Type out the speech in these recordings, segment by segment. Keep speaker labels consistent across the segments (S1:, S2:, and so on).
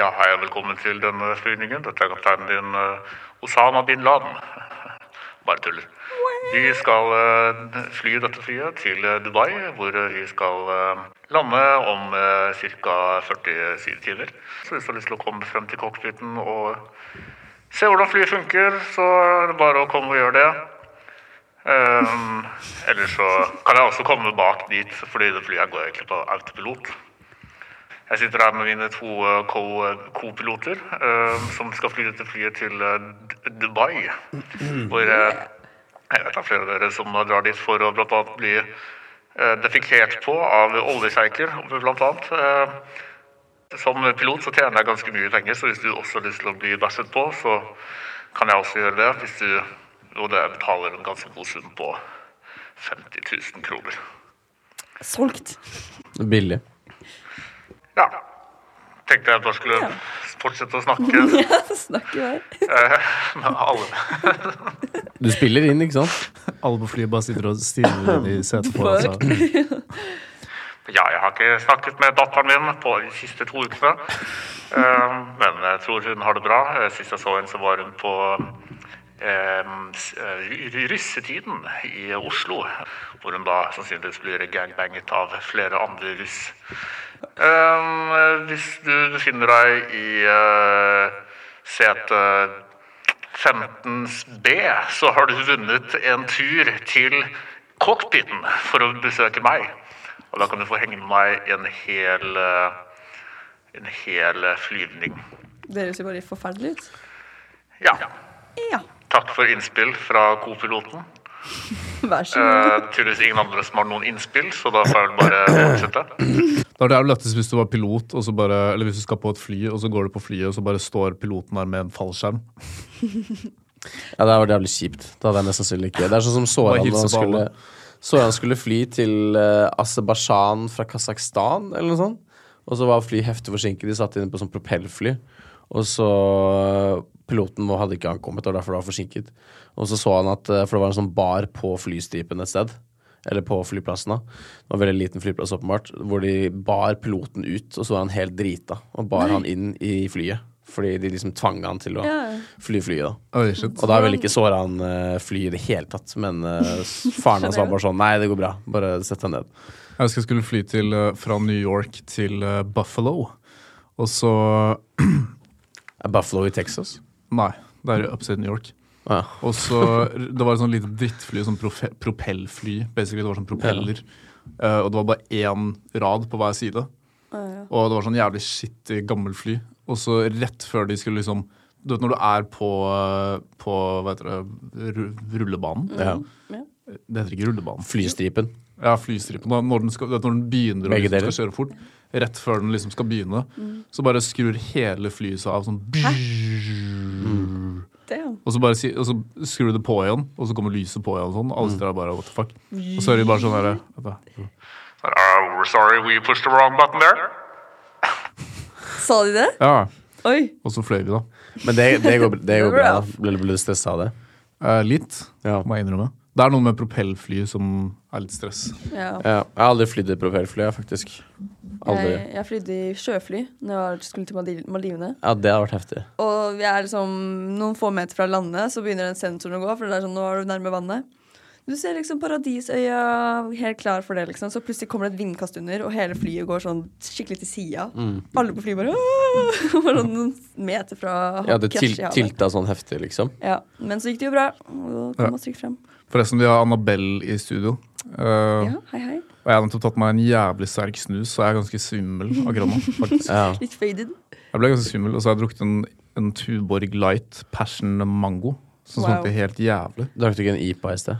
S1: Ja, hei og velkommen til denne flyvningen. Dette er kapteinen din, eh, Osama bin Laden. Bare tuller. Vi skal eh, fly dette flyet til eh, Dubai, hvor eh, vi skal eh, lande om eh, ca. 47 timer. Så hvis du har lyst til å komme frem til cockpiten og se hvordan flyet funker, så er det bare å komme og gjøre det. Um, ellers så kan jeg også komme bak dit, fordi det flyet går egentlig på autopilot. Jeg sitter her med mine to eh, co- co-piloter, eh, som skal fly dette flyet til eh, D- Dubai. Hvor eh, jeg vet det er flere av dere som eh, drar dit for å blant annet bli eh, defikert på av oljesjeiker, blant annet. Eh, Som pilot så tjener jeg ganske mye penger, så hvis du også har lyst til å bli bæsjet på, så kan jeg også gjøre det. Hvis du, og det betaler en ganske god sum på 50 000 kroner.
S2: Solgt.
S3: Billig.
S1: Ja. Tenkte jeg bare skulle
S2: Ja.
S1: fortsette å snakke
S2: Ja, snakker der.
S1: eh, med alle.
S3: Du spiller inn, ikke sant?
S4: Alle på flyet bare sitter og stirrer inn i setet på
S2: Fuck.
S4: altså.
S1: Ja, jeg har ikke snakket med datteren min på de siste to ukene. Eh, men jeg tror hun har det bra. Eh, Sist jeg så henne, så var hun på eh, s- eh, ry- russetiden i Oslo. Hvor hun da sannsynligvis blir gangbanget av flere andre russ. Eh, hvis du befinner deg i eh, sete 15B, så har du vunnet en tur til cockpiten for å besøke meg. Og da kan du få henge med meg en hel, eh, en hel eh, flyvning.
S2: Det høres jo bare forferdelig ut.
S1: Ja.
S2: Ja.
S1: Takk for innspill fra co-piloten.
S2: Vær så god.
S1: Eh, tydeligvis ingen andre som har noen innspill, så da får jeg vel bare fortsette.
S4: Da er det jo lettest hvis du var pilot, og så bare, eller hvis du skal på et fly, og så går du på flyet, og så bare står piloten der med en fallskjerm.
S3: Ja, det hadde vært jævlig kjipt. Det hadde jeg mest sannsynlig ikke. Det er sånn som
S4: Bare
S3: Soran
S4: hilse
S3: da han
S4: på
S3: skulle,
S4: alle.
S3: Soran skulle fly til uh, Aserbajdsjan fra Kasakhstan eller noe sånt. Og så var flyet heftig forsinket. De satt inne på sånn propellfly. Og så eh, Piloten vår hadde ikke ankommet, og derfor det var forsinket. Og så så han at eh, For det var en sånn bar på flystripen et sted. Eller på flyplassen, da. Det var en veldig liten flyplass, åpenbart. Hvor de bar piloten ut, og så var han helt drita. Og bar han inn i flyet. Fordi de liksom tvang han til å
S2: Ja.
S3: fly flyet, da.
S4: Oi, shit.
S3: Og da vil ikke Soran eh, fly i det hele tatt, men eh, faren hans var bare sånn Nei, det går bra, bare sett deg ned.
S4: Jeg husker jeg skulle fly til, eh, fra New York til eh, Buffalo, og så
S3: Er Buffalo i Texas?
S4: Nei, det er jo upstate New York.
S3: Ah,
S4: Og så Det var et sånn lite drittfly, sånn profe- propellfly. Basically, det var sånn propeller. Eh, og det var bare én rad på hver side. Og det var sånn jævlig skittig gammelfly. Og så rett før de skulle liksom Du vet når du er på, eh, på hva heter det, ru- rullebanen?
S3: ja.
S4: Det heter ikke rullebanen.
S3: Flystripen.
S4: Ja, flystripen. Da, når, den skal, du vet, når den begynner å
S3: Begge
S4: liksom,
S3: deler.
S4: skal kjøre fort, rett før den liksom skal begynne, så bare skrur hele flyet seg av sånn
S2: Damn.
S4: og så, bare si, og så skrur du det på igjen, og så kommer lyset på igjen. og Sånn.
S3: Mm.
S4: Alle sitter der bare what the fuck. Og så er de bare sånn derre vet du.
S1: Uh,
S5: Oh,
S1: we're sorry we pushed the wrong button there.
S2: Sa de det?
S4: Ja.
S2: Oi.
S4: Og så fløy vi, da.
S3: Men det, det, går, det går bra.
S2: Bra.
S3: da. Ble ble du stressa av det?
S4: Eh, litt,
S3: Ja.
S4: må jeg innrømme. Det er noe med propellfly som er litt stress.
S2: Ja.
S3: Ja, jeg har aldri flydd et propellfly, jeg, faktisk. Eh, Aldri.
S2: Jeg, jeg flydde i sjøfly når jeg var- skulle til Maldiv- Maldivene.
S3: Ja, det hadde vært heftig.
S2: Og vi er liksom noen få meter fra landet, så begynner den sensoren å gå. For det er sånn, nå er du nærme vannet. Du ser liksom Paradisøya helt klar for det, liksom. Så plutselig kommer det et vindkast under, og hele flyet går sånn skikkelig til sida.
S3: Mm.
S2: Alle på flyet bare «Åh!» Bare sånn noen meter fra
S3: Jeg hadde til,
S2: krasj i havet.
S3: tilta sånn heftig, liksom.
S2: Ja, Men så gikk det jo bra. Og da
S4: Ja.
S2: kom oss trygt frem.
S4: Forresten, vi har Annabelle i studio. Eh,
S2: Ja, hei, hei.
S4: Og jeg har nettopp tatt meg en jævlig sterk snus, så jeg er ganske svimmel akkurat nå. faktisk.
S3: Ja.
S2: Litt faded.
S4: Jeg ble ganske svimmel, og så har jeg drukket en, en Tuborg Light Passion Mango. Som
S2: Wow.
S4: smakte helt jævlig.
S3: Drakk du ikke en IPA i sted?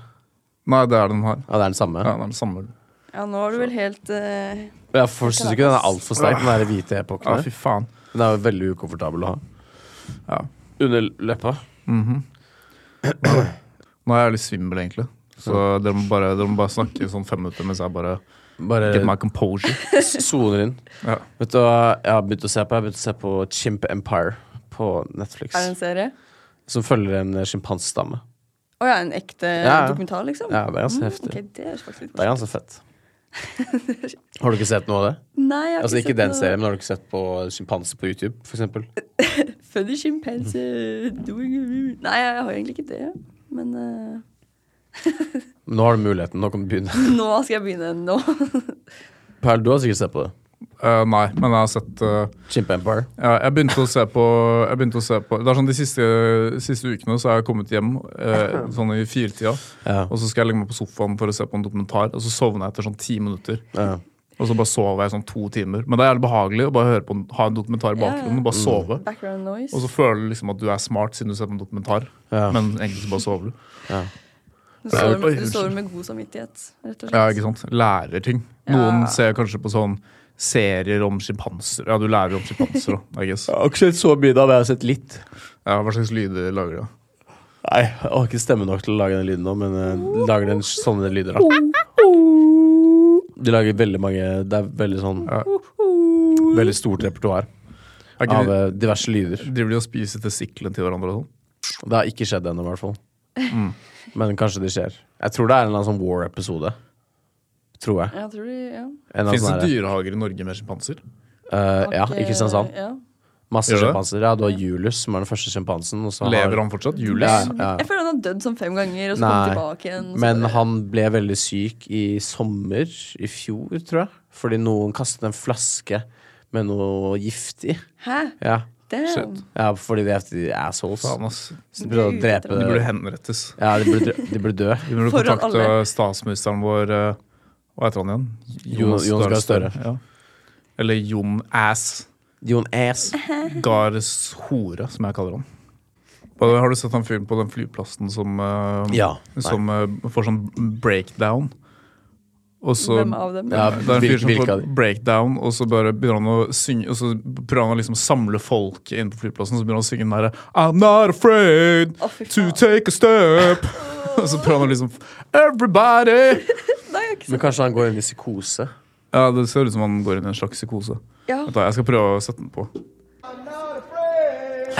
S4: Nei, det er den her.
S3: Ja, det er den samme.
S4: Ja, det er den samme.
S2: Ja, nå er du vel helt eh,
S3: Jeg syns ikke den er altfor sterk, den der hvite
S4: Ja,
S3: epoken.
S4: fy faen.
S3: her. Den er jo veldig ukomfortabel å ha.
S4: Ja.
S3: Under leppa.
S4: Nå er jeg litt svimmel, egentlig. Så dere må bare, dere må bare snakke i sånn fem minutter mens jeg bare
S3: Bare
S4: get my composure.
S3: soner inn.
S4: Ja.
S3: Vet du hva jeg har begynt å se på? Jeg har begynt å se på Chimp Empire på Netflix.
S2: Er det en serie?
S3: Som følger en eh, sjimpansestamme.
S2: Å ja, en ekte
S3: Ja, ja.
S2: dokumentar, liksom?
S3: Ja, det er ganske heftig.
S2: Ok, det er faktisk litt
S3: Det er ganske fett. Har du ikke sett noe av det?
S2: Nei, jeg har
S3: Altså Ikke
S2: sett
S3: den
S2: noe.
S3: serien, men har du ikke sett på sjimpanse på YouTube, f.eks.?
S2: Funny chimpanse doing Nei, jeg har egentlig ikke det. Men eh,
S3: Nå har du muligheten. Nå kan du begynne.
S2: nå skal jeg begynne. Nå.
S3: Perl, du har sikkert sett på det.
S4: Eh, nei, men jeg har sett eh,
S3: Chimp Empire.
S4: ja, jeg, begynte å se på, jeg begynte å se på Det er sånn De siste, siste ukene så har jeg kommet hjem eh, sånn i firetida.
S3: Ja.
S4: Og så skal jeg legge meg på sofaen for å se på en dokumentar, og så sovner jeg etter sånn ti minutter.
S3: Ja.
S4: Og så bare sover jeg sånn to timer. Men det er jævlig behagelig å bare høre på en, ha en dokumentar i
S2: Ja, ja.
S4: bakgrunnen og bare sove.
S2: Background noise.
S4: Og så føler du liksom at du er smart siden du ser på en dokumentar,
S3: Ja.
S4: men egentlig så bare sover du.
S2: Du sover,
S4: Oi,
S2: med, du
S4: unnskyld.
S2: sover med god samvittighet, rett og slett.
S4: Ja, ikke sant? Lærer ting.
S2: Ja.
S4: Noen ser kanskje på sånn serier om sjimpanser. Ja, du lærer om sjimpanser òg, I guess.
S3: har ikke sett så mye av det. Jeg har sett litt.
S4: Ja, hva slags lyder lager de? da?
S3: Nei, Jeg har ikke stemme nok til å lage den lyden nå, men eh, lager den sånne lyder. da De lager veldig mange Det er veldig sånn
S4: Ja.
S3: Veldig stort repertoar
S4: Er ikke
S3: av
S4: de,
S3: eh, diverse lyder.
S4: driver de og spiser testiklene til hverandre og sånn?
S3: Det har ikke skjedd ennå, i hvert fall.
S4: Mm.
S3: Men kanskje det skjer. Jeg tror det er en eller annen sånn war-episode. Tror jeg.
S2: Jeg tror de, ja.
S3: En eller annen
S4: Fins
S3: sånn
S4: det
S3: her,
S4: dyrehager i Norge med sjimpanser?
S3: eh, ja,
S2: Ikke-
S3: i Kristiansand.
S2: Ja.
S3: Masse
S4: Gjør det?
S3: sjimpanser. Ja, du har Julius, som er den første sjimpansen. og så har-
S4: Lever han fortsatt?
S3: Ja,
S4: Julius?
S3: ja.
S2: Jeg føler han har dødd sånn fem ganger, og så kom
S3: Nei,
S2: han tilbake igjen. og så
S3: Men
S2: bare-
S3: han ble veldig syk i sommer i fjor, tror jeg. Fordi noen kastet en flaske med noe gift i.
S2: Hæ?
S3: Ja,
S2: Damn.
S3: ja fordi de er efter de assholes.
S4: Faen, ass.
S3: Så de prøvde å drepe
S4: De burde henrettes.
S3: Ja, de burde, dø- de burde dø.
S4: Vi burde
S2: Foran alle.
S4: kontakte statsministeren vår eh, Hva heter han igjen?
S3: Jonas- Jonas Gahr Støre.
S4: Ja. Eller Jon Ass
S3: Jon Ass.
S4: Gars Hore, som jeg kaller han. Og Har du sett han fyren på den flyplassen som, eh,
S3: Ja. Nei.
S4: som eh, får sånn breakdown? Og så
S2: Hvem av dem?
S3: Ja,
S4: det er en
S3: hvil-
S4: fyr som
S3: hvilke av
S4: får
S3: de?
S4: breakdown, og så bare begynner han å synge Og så prøver han å liksom samle folket inn på flyplassen, så begynner han å synge den derre I'm not afraid
S2: Å, fy
S4: to
S2: faen.
S4: take a step. og så prøver han å liksom Everybody!
S2: Nei, jeg har ikke
S3: Men
S2: sett
S3: kanskje han går inn i psykose.
S4: Ja, Det ser ut som han går inn i en slags psykose.
S2: Ja.
S4: Vent da, Jeg skal prøve å sette den på.
S6: I'm not afraid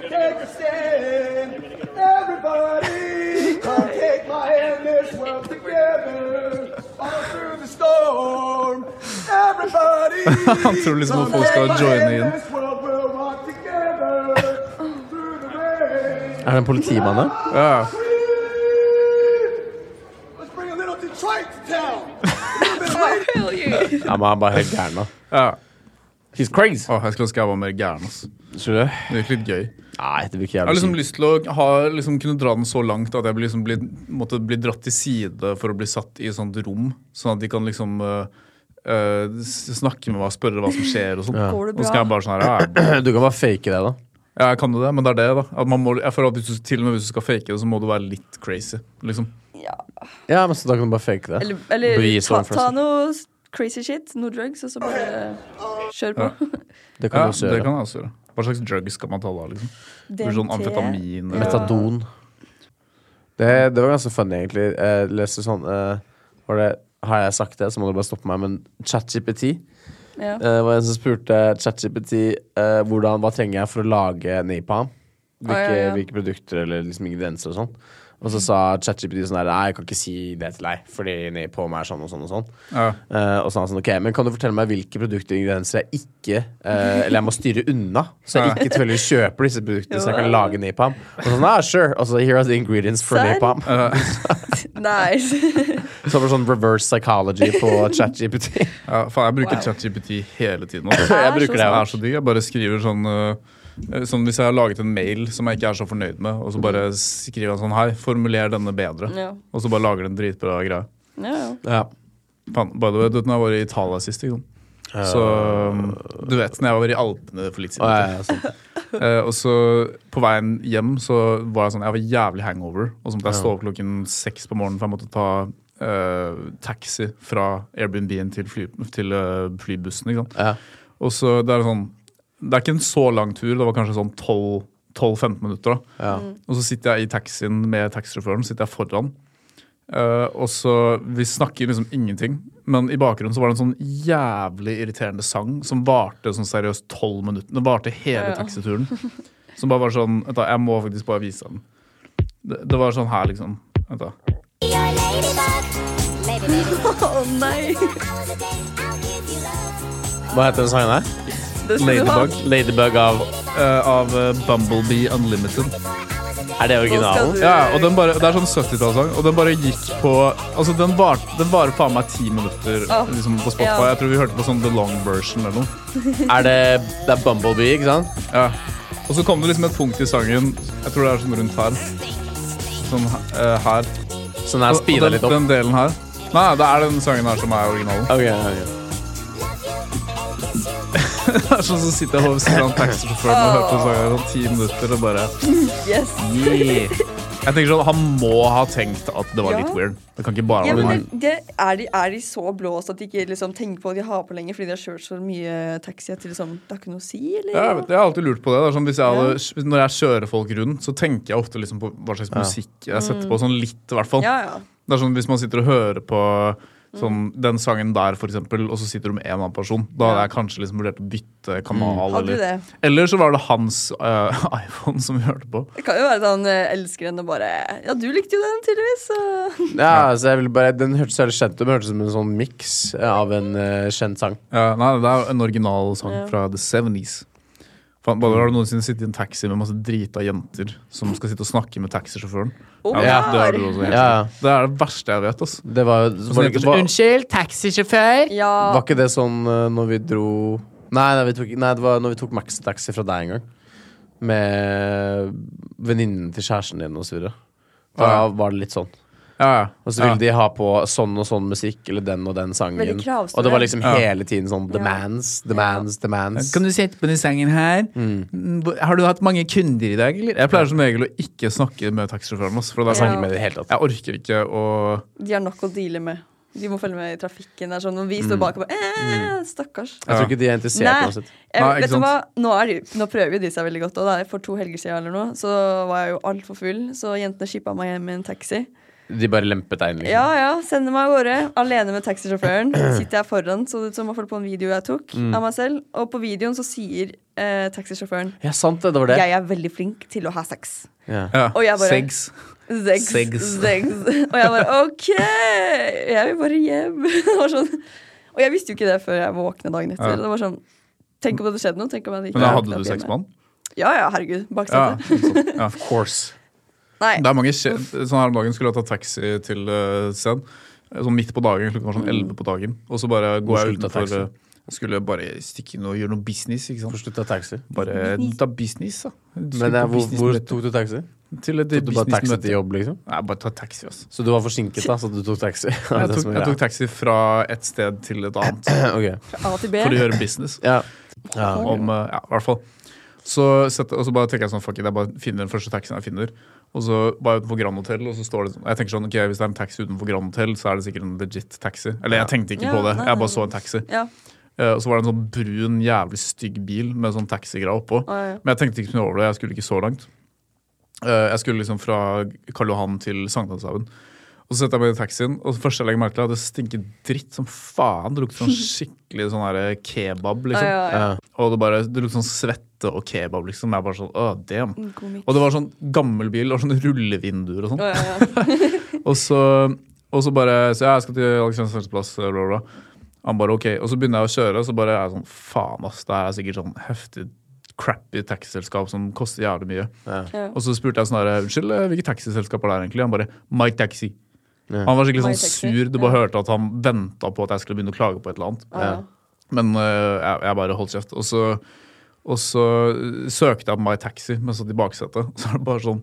S6: to take a stand. Everybody, come take my hand. This world together. All through the storm. Everybody,
S4: Han tror
S2: Sånn,
S4: liksom at
S6: come
S4: folk skal
S6: take my
S4: joine
S6: hand.
S4: inn.
S6: This world will rock together. Through the rain.
S3: Er det en politimann, da?
S4: Ja,
S6: Let's bring a little Detroit to town.
S2: Hell yeah.
S3: Ja, men han er bare helt gæren, da.
S4: ja.
S3: He's crazy!
S4: Å, jeg skulle ønske jeg var mer gæren. ass.
S3: Skjønner du?
S4: Det gikk litt gøy. Jeg
S3: Nei, det blir ikke
S4: har
S3: jævlig
S4: liksom
S3: sykt.
S4: lyst til å ha, liksom, kunne dra den så langt at jeg blir liksom bli, måtte bli dratt til side for å bli satt i et sånt rom, sånn at de kan liksom eh, eh, s- snakke med meg og spørre hva som skjer og sånn.
S2: Går det
S4: Og så skal
S2: bra?
S4: jeg bare sånn her ja,
S3: Du kan bare fake det, da.
S4: Ja, jeg kan jo det, men det er det, da. At man må, jeg føler at hvis du, til og med hvis du skal fake det, så må du være litt crazy, liksom.
S2: Ja.
S3: Ja, men så da kan du bare fake det.
S2: Eller, eller
S3: Bevise
S2: ta,
S3: overfor
S2: ta
S3: seg.
S2: noe s- crazy shit, noe drugs, og så bare kjør på.
S3: Det kan du
S4: Ja,
S3: også
S4: det
S3: gjøre.
S4: kan jeg også gjøre. Hva slags drugs skal man ta da, liksom?
S2: DMT.
S4: Sånn amfetamin eller
S3: Metadon. Det, det var ganske funny, egentlig. Jeg leste sånn eh, var det, Har jeg sagt det, så må du bare stoppe meg, men ChatGPT
S2: Ja.
S3: eh, var en som spurte ChatGPT eh, hvordan, hva trenger jeg for å lage napalm. Hvilke,
S2: Ah, ja, ja.
S3: hvilke produkter eller liksom ingredienser og sånn. Og så sa ChatGPT sånn her Nei, jeg kan ikke si det til deg, fordi napalm er sånn og sånn og sånn.
S4: Ja.
S3: Eh, og så han sånn, ok, men kan du fortelle meg hvilke produkter og ingredienser jeg ikke eh, Eller jeg må styre unna, så jeg ikke tilfeldigvis kjøper disse produktene, så jeg kan lage napalm. Og sånn, ah, sure, og så here are the ingredients for
S2: Serr?
S3: napalm.
S4: Eh,
S2: Nice.
S3: Så det var sånn reverse psychology på ChatGPT.
S4: Ja, faen, jeg bruker
S2: Wow.
S4: ChatGPT hele tiden. altså.
S2: Jeg
S3: bruker
S4: Det
S3: det
S4: er så digg. Jeg bare skriver sånn eh, Sånn Hvis jeg har laget en mail som jeg ikke er så fornøyd med, og så bare skriver jeg sånn Hei, formuler denne bedre.
S2: Ja.
S4: Og så bare lager den dritbra greie.
S2: Ja, ja.
S3: Ja.
S4: Faen, by the way, du vet når jeg var i Italia sist, ikke sant. Så um, Du vet når jeg var i Alpene for litt
S3: Og,
S4: siden.
S3: jeg, sånn,
S4: Eh, og så på veien hjem så var jeg sånn Jeg var jævlig hangover. Og så måtte jeg stå opp klokken seks på morgenen, for jeg måtte ta eh, taxi fra Airbnb-en til, fly, til eh, flybussen. ikke sant?
S3: ja.
S4: Og så det er sånn Det er ikke en så lang tur, det var kanskje sånn 12 12-15 minutter. da
S3: Ja.
S4: Og så sitter jeg i taxien med taxisjåføren, sitter jeg foran. Eh, og så Vi snakker liksom ingenting, men i bakgrunnen så var det en sånn jævlig irriterende sang som varte sånn seriøst 12 minutter. Den varte hele
S2: Ja.
S4: taxituren. Som bare var sånn Vent, da, jeg må faktisk bare vise den. Det, det var sånn her, liksom. Vent, da.
S7: You're ladybug, Maybe, maybe.
S2: Å nei!
S3: Hva heter den sangen her?
S2: Det skal du ha.
S3: Ladybug av
S4: eh, av eh, Bumblebee Unlimited.
S3: Er det
S2: Nå skal
S3: originalen?
S2: du-
S4: Ja, og den bare, Det er sånn 70-tallssang, og den bare gikk på Altså, Den, var, den varer faen meg ti minutter
S2: Åh,
S4: liksom, på Spotify.
S2: ja.
S4: Jeg tror vi hørte på sånn The Long Version eller noe.
S3: Er det, det er Bumblebee, ikke sant?
S4: Ja. Og så kom det liksom et punkt i sangen, jeg tror det er sånn rundt her. Sånn eh, her.
S3: Så den her
S4: Og- og
S3: speeda
S4: den,
S3: litt opp.
S4: den delen her. Nei, det er den sangen her som er originalen.
S3: Ok, ok.
S4: Det er sånn som sitter jeg ved siden av en taxisjåfør og hører på sangen her sånn ti minutter og bare
S2: Yes.
S4: yeah. Jeg tenker sånn, Han må ha tenkt at det var
S2: Ja.
S4: litt weird. Det kan ikke bare
S2: Ja, men
S4: være meg.
S2: det, det, er, de, er de så blåst at de ikke liksom, tenker på at de har på lenger fordi de har kjørt så mye taxi at de liksom, det har ikke noe å si? Eller?
S4: Ja, jeg, vet, jeg har alltid lurt på det. det er sånn, hvis jeg
S2: Ja.
S4: hadde, hvis- Når jeg kjører folk rundt, så tenker jeg ofte liksom på hva slags musikk jeg setter på. Sånn litt, i hvert fall.
S2: ja, ja.
S4: Det er sånn, Hvis man sitter og hører på
S2: Mm.
S4: sånn, den sangen der, for eksempel, og så sitter du med en annen person, da hadde jeg kanskje liksom vurdert å
S3: Mm.
S4: bytte kanal.
S2: Hadde du
S4: Eller,
S2: det?
S4: eller så var det hans eh, iPhone som vi hørte på.
S2: Det kan jo være at han eh, elsker henne og bare Ja, du likte jo den, tydeligvis. Så.
S3: Ja, altså jeg vil bare, den hørtes veldig kjent ut, men hørtes ut som en sånn miks av en eh, kjent sang.
S4: Ja, nei, Det er en original sang
S2: Ja.
S4: fra the 70s. Faen, bare Har du noensinne sittet i en taxi med masse drita jenter som skal sitte og snakke med taxisjåføren?
S2: Oh,
S3: Ja,
S4: det, har du også, helt
S3: Ja,
S4: sikkert. det er det verste jeg vet. ass
S3: det var, jo- var, det ikke- var,
S4: Unnskyld, taxisjåfør.
S2: ja.
S3: var ikke det sånn eh, når vi dro Nei, nei, vi tok, nei det var når vi tok maxitaxi fra deg en gang. Med venninnen til kjæresten din og så videre. Da
S4: Ja.
S3: var det litt sånn.
S4: Ja, ja.
S3: Og så ville de
S4: ja.
S3: ha på sånn og sånn musikk eller den og den sangen.
S2: Veldig kravstore.
S3: Og det var liksom
S4: Ja.
S3: hele tiden sånn
S2: Ja.
S3: demands, demands, demands.
S4: Kan du sette på den sangen her? Mm, hvor- Har du hatt mange kunder i dag, eller? Jeg pleier som regel å ikke snakke med taxisjåføren.
S3: altså,
S4: ass, For det er
S2: Ja.
S4: sånn,
S3: med det i hele tatt.
S4: Jeg orker ikke å
S2: De har nok å deale med. De må følge med i trafikken. Det er sånn, og vi står bak og bare eh, Stakkars.
S3: Jeg tror ikke de er interessert
S2: Nei.
S3: uansett.
S2: Jeg,
S4: Nei, ikke
S2: vet du
S4: sant?
S2: hva? Nå, er de, nå prøver jo de seg veldig godt. Og da er For to helger siden eller noe, så var jeg jo altfor full, så jentene shippa meg hjem i en taxi.
S3: De bare lempet deg inn, liksom.
S2: Ja, ja, sender meg av gårde alene med taxisjåføren. Sitter jeg foran, så det ut som i hvert fall på en video jeg tok av meg selv. Og på videoen så sier eh, taxisjåføren
S3: Ja, sant det. Det var det.
S2: jeg er veldig flink til å ha sex.
S3: Ja.
S4: ja.
S2: Og jeg bare-
S4: Sex.
S2: Sex,
S4: Sex.
S2: sex. Og jeg bare OK! Jeg vil bare hjem. Det var sånn. Og jeg visste jo ikke det før jeg våkna dagen etter.
S4: Ja.
S2: Det var sånn Tenk om det hadde skjedd noe. Tenk om jeg hadde ikke
S4: Men da
S2: våknet
S4: hadde du
S2: opp
S4: sex
S2: hjemme.
S4: med han?
S2: Ja, ja, herregud.
S4: Ja,
S2: Baksetet.
S4: sånn, ja.
S3: Course.
S2: Nei.
S4: Det er mange kje- Sånn her om dagen skulle jeg ta taxi til uh, Sen. Sånn midt på dagen, klokken var sånn 11 på dagen. Og så bare går jeg
S3: skulle du ta
S4: utenfor
S3: taxi?
S4: eh, Skulle bare stikke inn og gjøre noe business, ikke sant.
S3: Forslutta taxi.
S4: Bare ta business, da.
S3: Men eh, hvor, hvor
S4: Businessmøte.
S3: tok du taxi?
S4: Til et
S3: Tok du bare taxi til
S4: businessmøte.
S3: jobb, liksom?
S4: Nei, bare ta taxi, altså.
S3: Så du var forsinket, da, så du tok taxi? Det er
S4: Jeg
S3: det
S4: tok,
S3: som er
S4: jeg tok
S3: greia.
S4: taxi fra et sted til et annet
S3: Ok.
S2: A til B.
S4: for å gjøre business.
S3: Ja. Ja, ok.
S4: Om, eh, ja, i hvert fall. Så, sett, og så bare tenker jeg sånn, fuck it, jeg bare finner den første taxien jeg finner. Og så var jeg utenfor Grand Hotel, og så står det sånn Jeg tenker sånn, ok, hvis det er en taxi utenfor Grand Hotel, så er det sikkert en legit taxi. Eller jeg tenkte ikke
S2: Ja,
S4: på det,
S2: nei,
S4: jeg
S2: nei,
S4: bare så en taxi.
S2: Ja.
S4: Eh, Og så var det en sånn brun, jævlig stygg bil med sånn taxigreie oppå.
S2: Å, ja.
S4: Men jeg tenkte ikke så mye over det, jeg skulle ikke så langt. Eh, Jeg skulle liksom fra Karl Johan til Sankthanshaugen. Og så setter jeg meg i taxien, og det første jeg legger merke til, er at det stinker dritt som faen. Det lukter sånn skikkelig sånn her kebab,
S2: Ja,
S4: liksom.
S2: ja, ja.
S4: Og det, bare, det lukter sånn svette og kebab, liksom. Jeg er bare sånn, åh, damn.
S2: God miks.
S4: Og det var sånn gammel bil og sånne rullevinduer og sånn.
S2: Ja, ja, ja.
S4: Og så, og så bare Så ja, jeg skal til Alexander Sørensplass, bla, bla, bla. Han bare ok. Og så begynner jeg å kjøre, og så bare er jeg sånn faen, ass. Det her er sikkert sånn heftig crappy taxiselskap som koster jævlig mye.
S2: Ja.
S4: Og så spurte jeg sånn her, unnskyld, eh, hvilket taxiselskap er det her egentlig? Han bare My Taxi. Han var skikkelig
S2: My
S4: sånn
S2: Taxi,
S4: sur. Du bare hørte at han venta på at jeg skulle begynne å klage på et eller annet.
S2: Ja, ja.
S4: Men eh, jeg, jeg bare holdt kjeft. Og så, og så eh, søkte jeg på My Taxi mens jeg satt i baksetet. Så er det bare sånn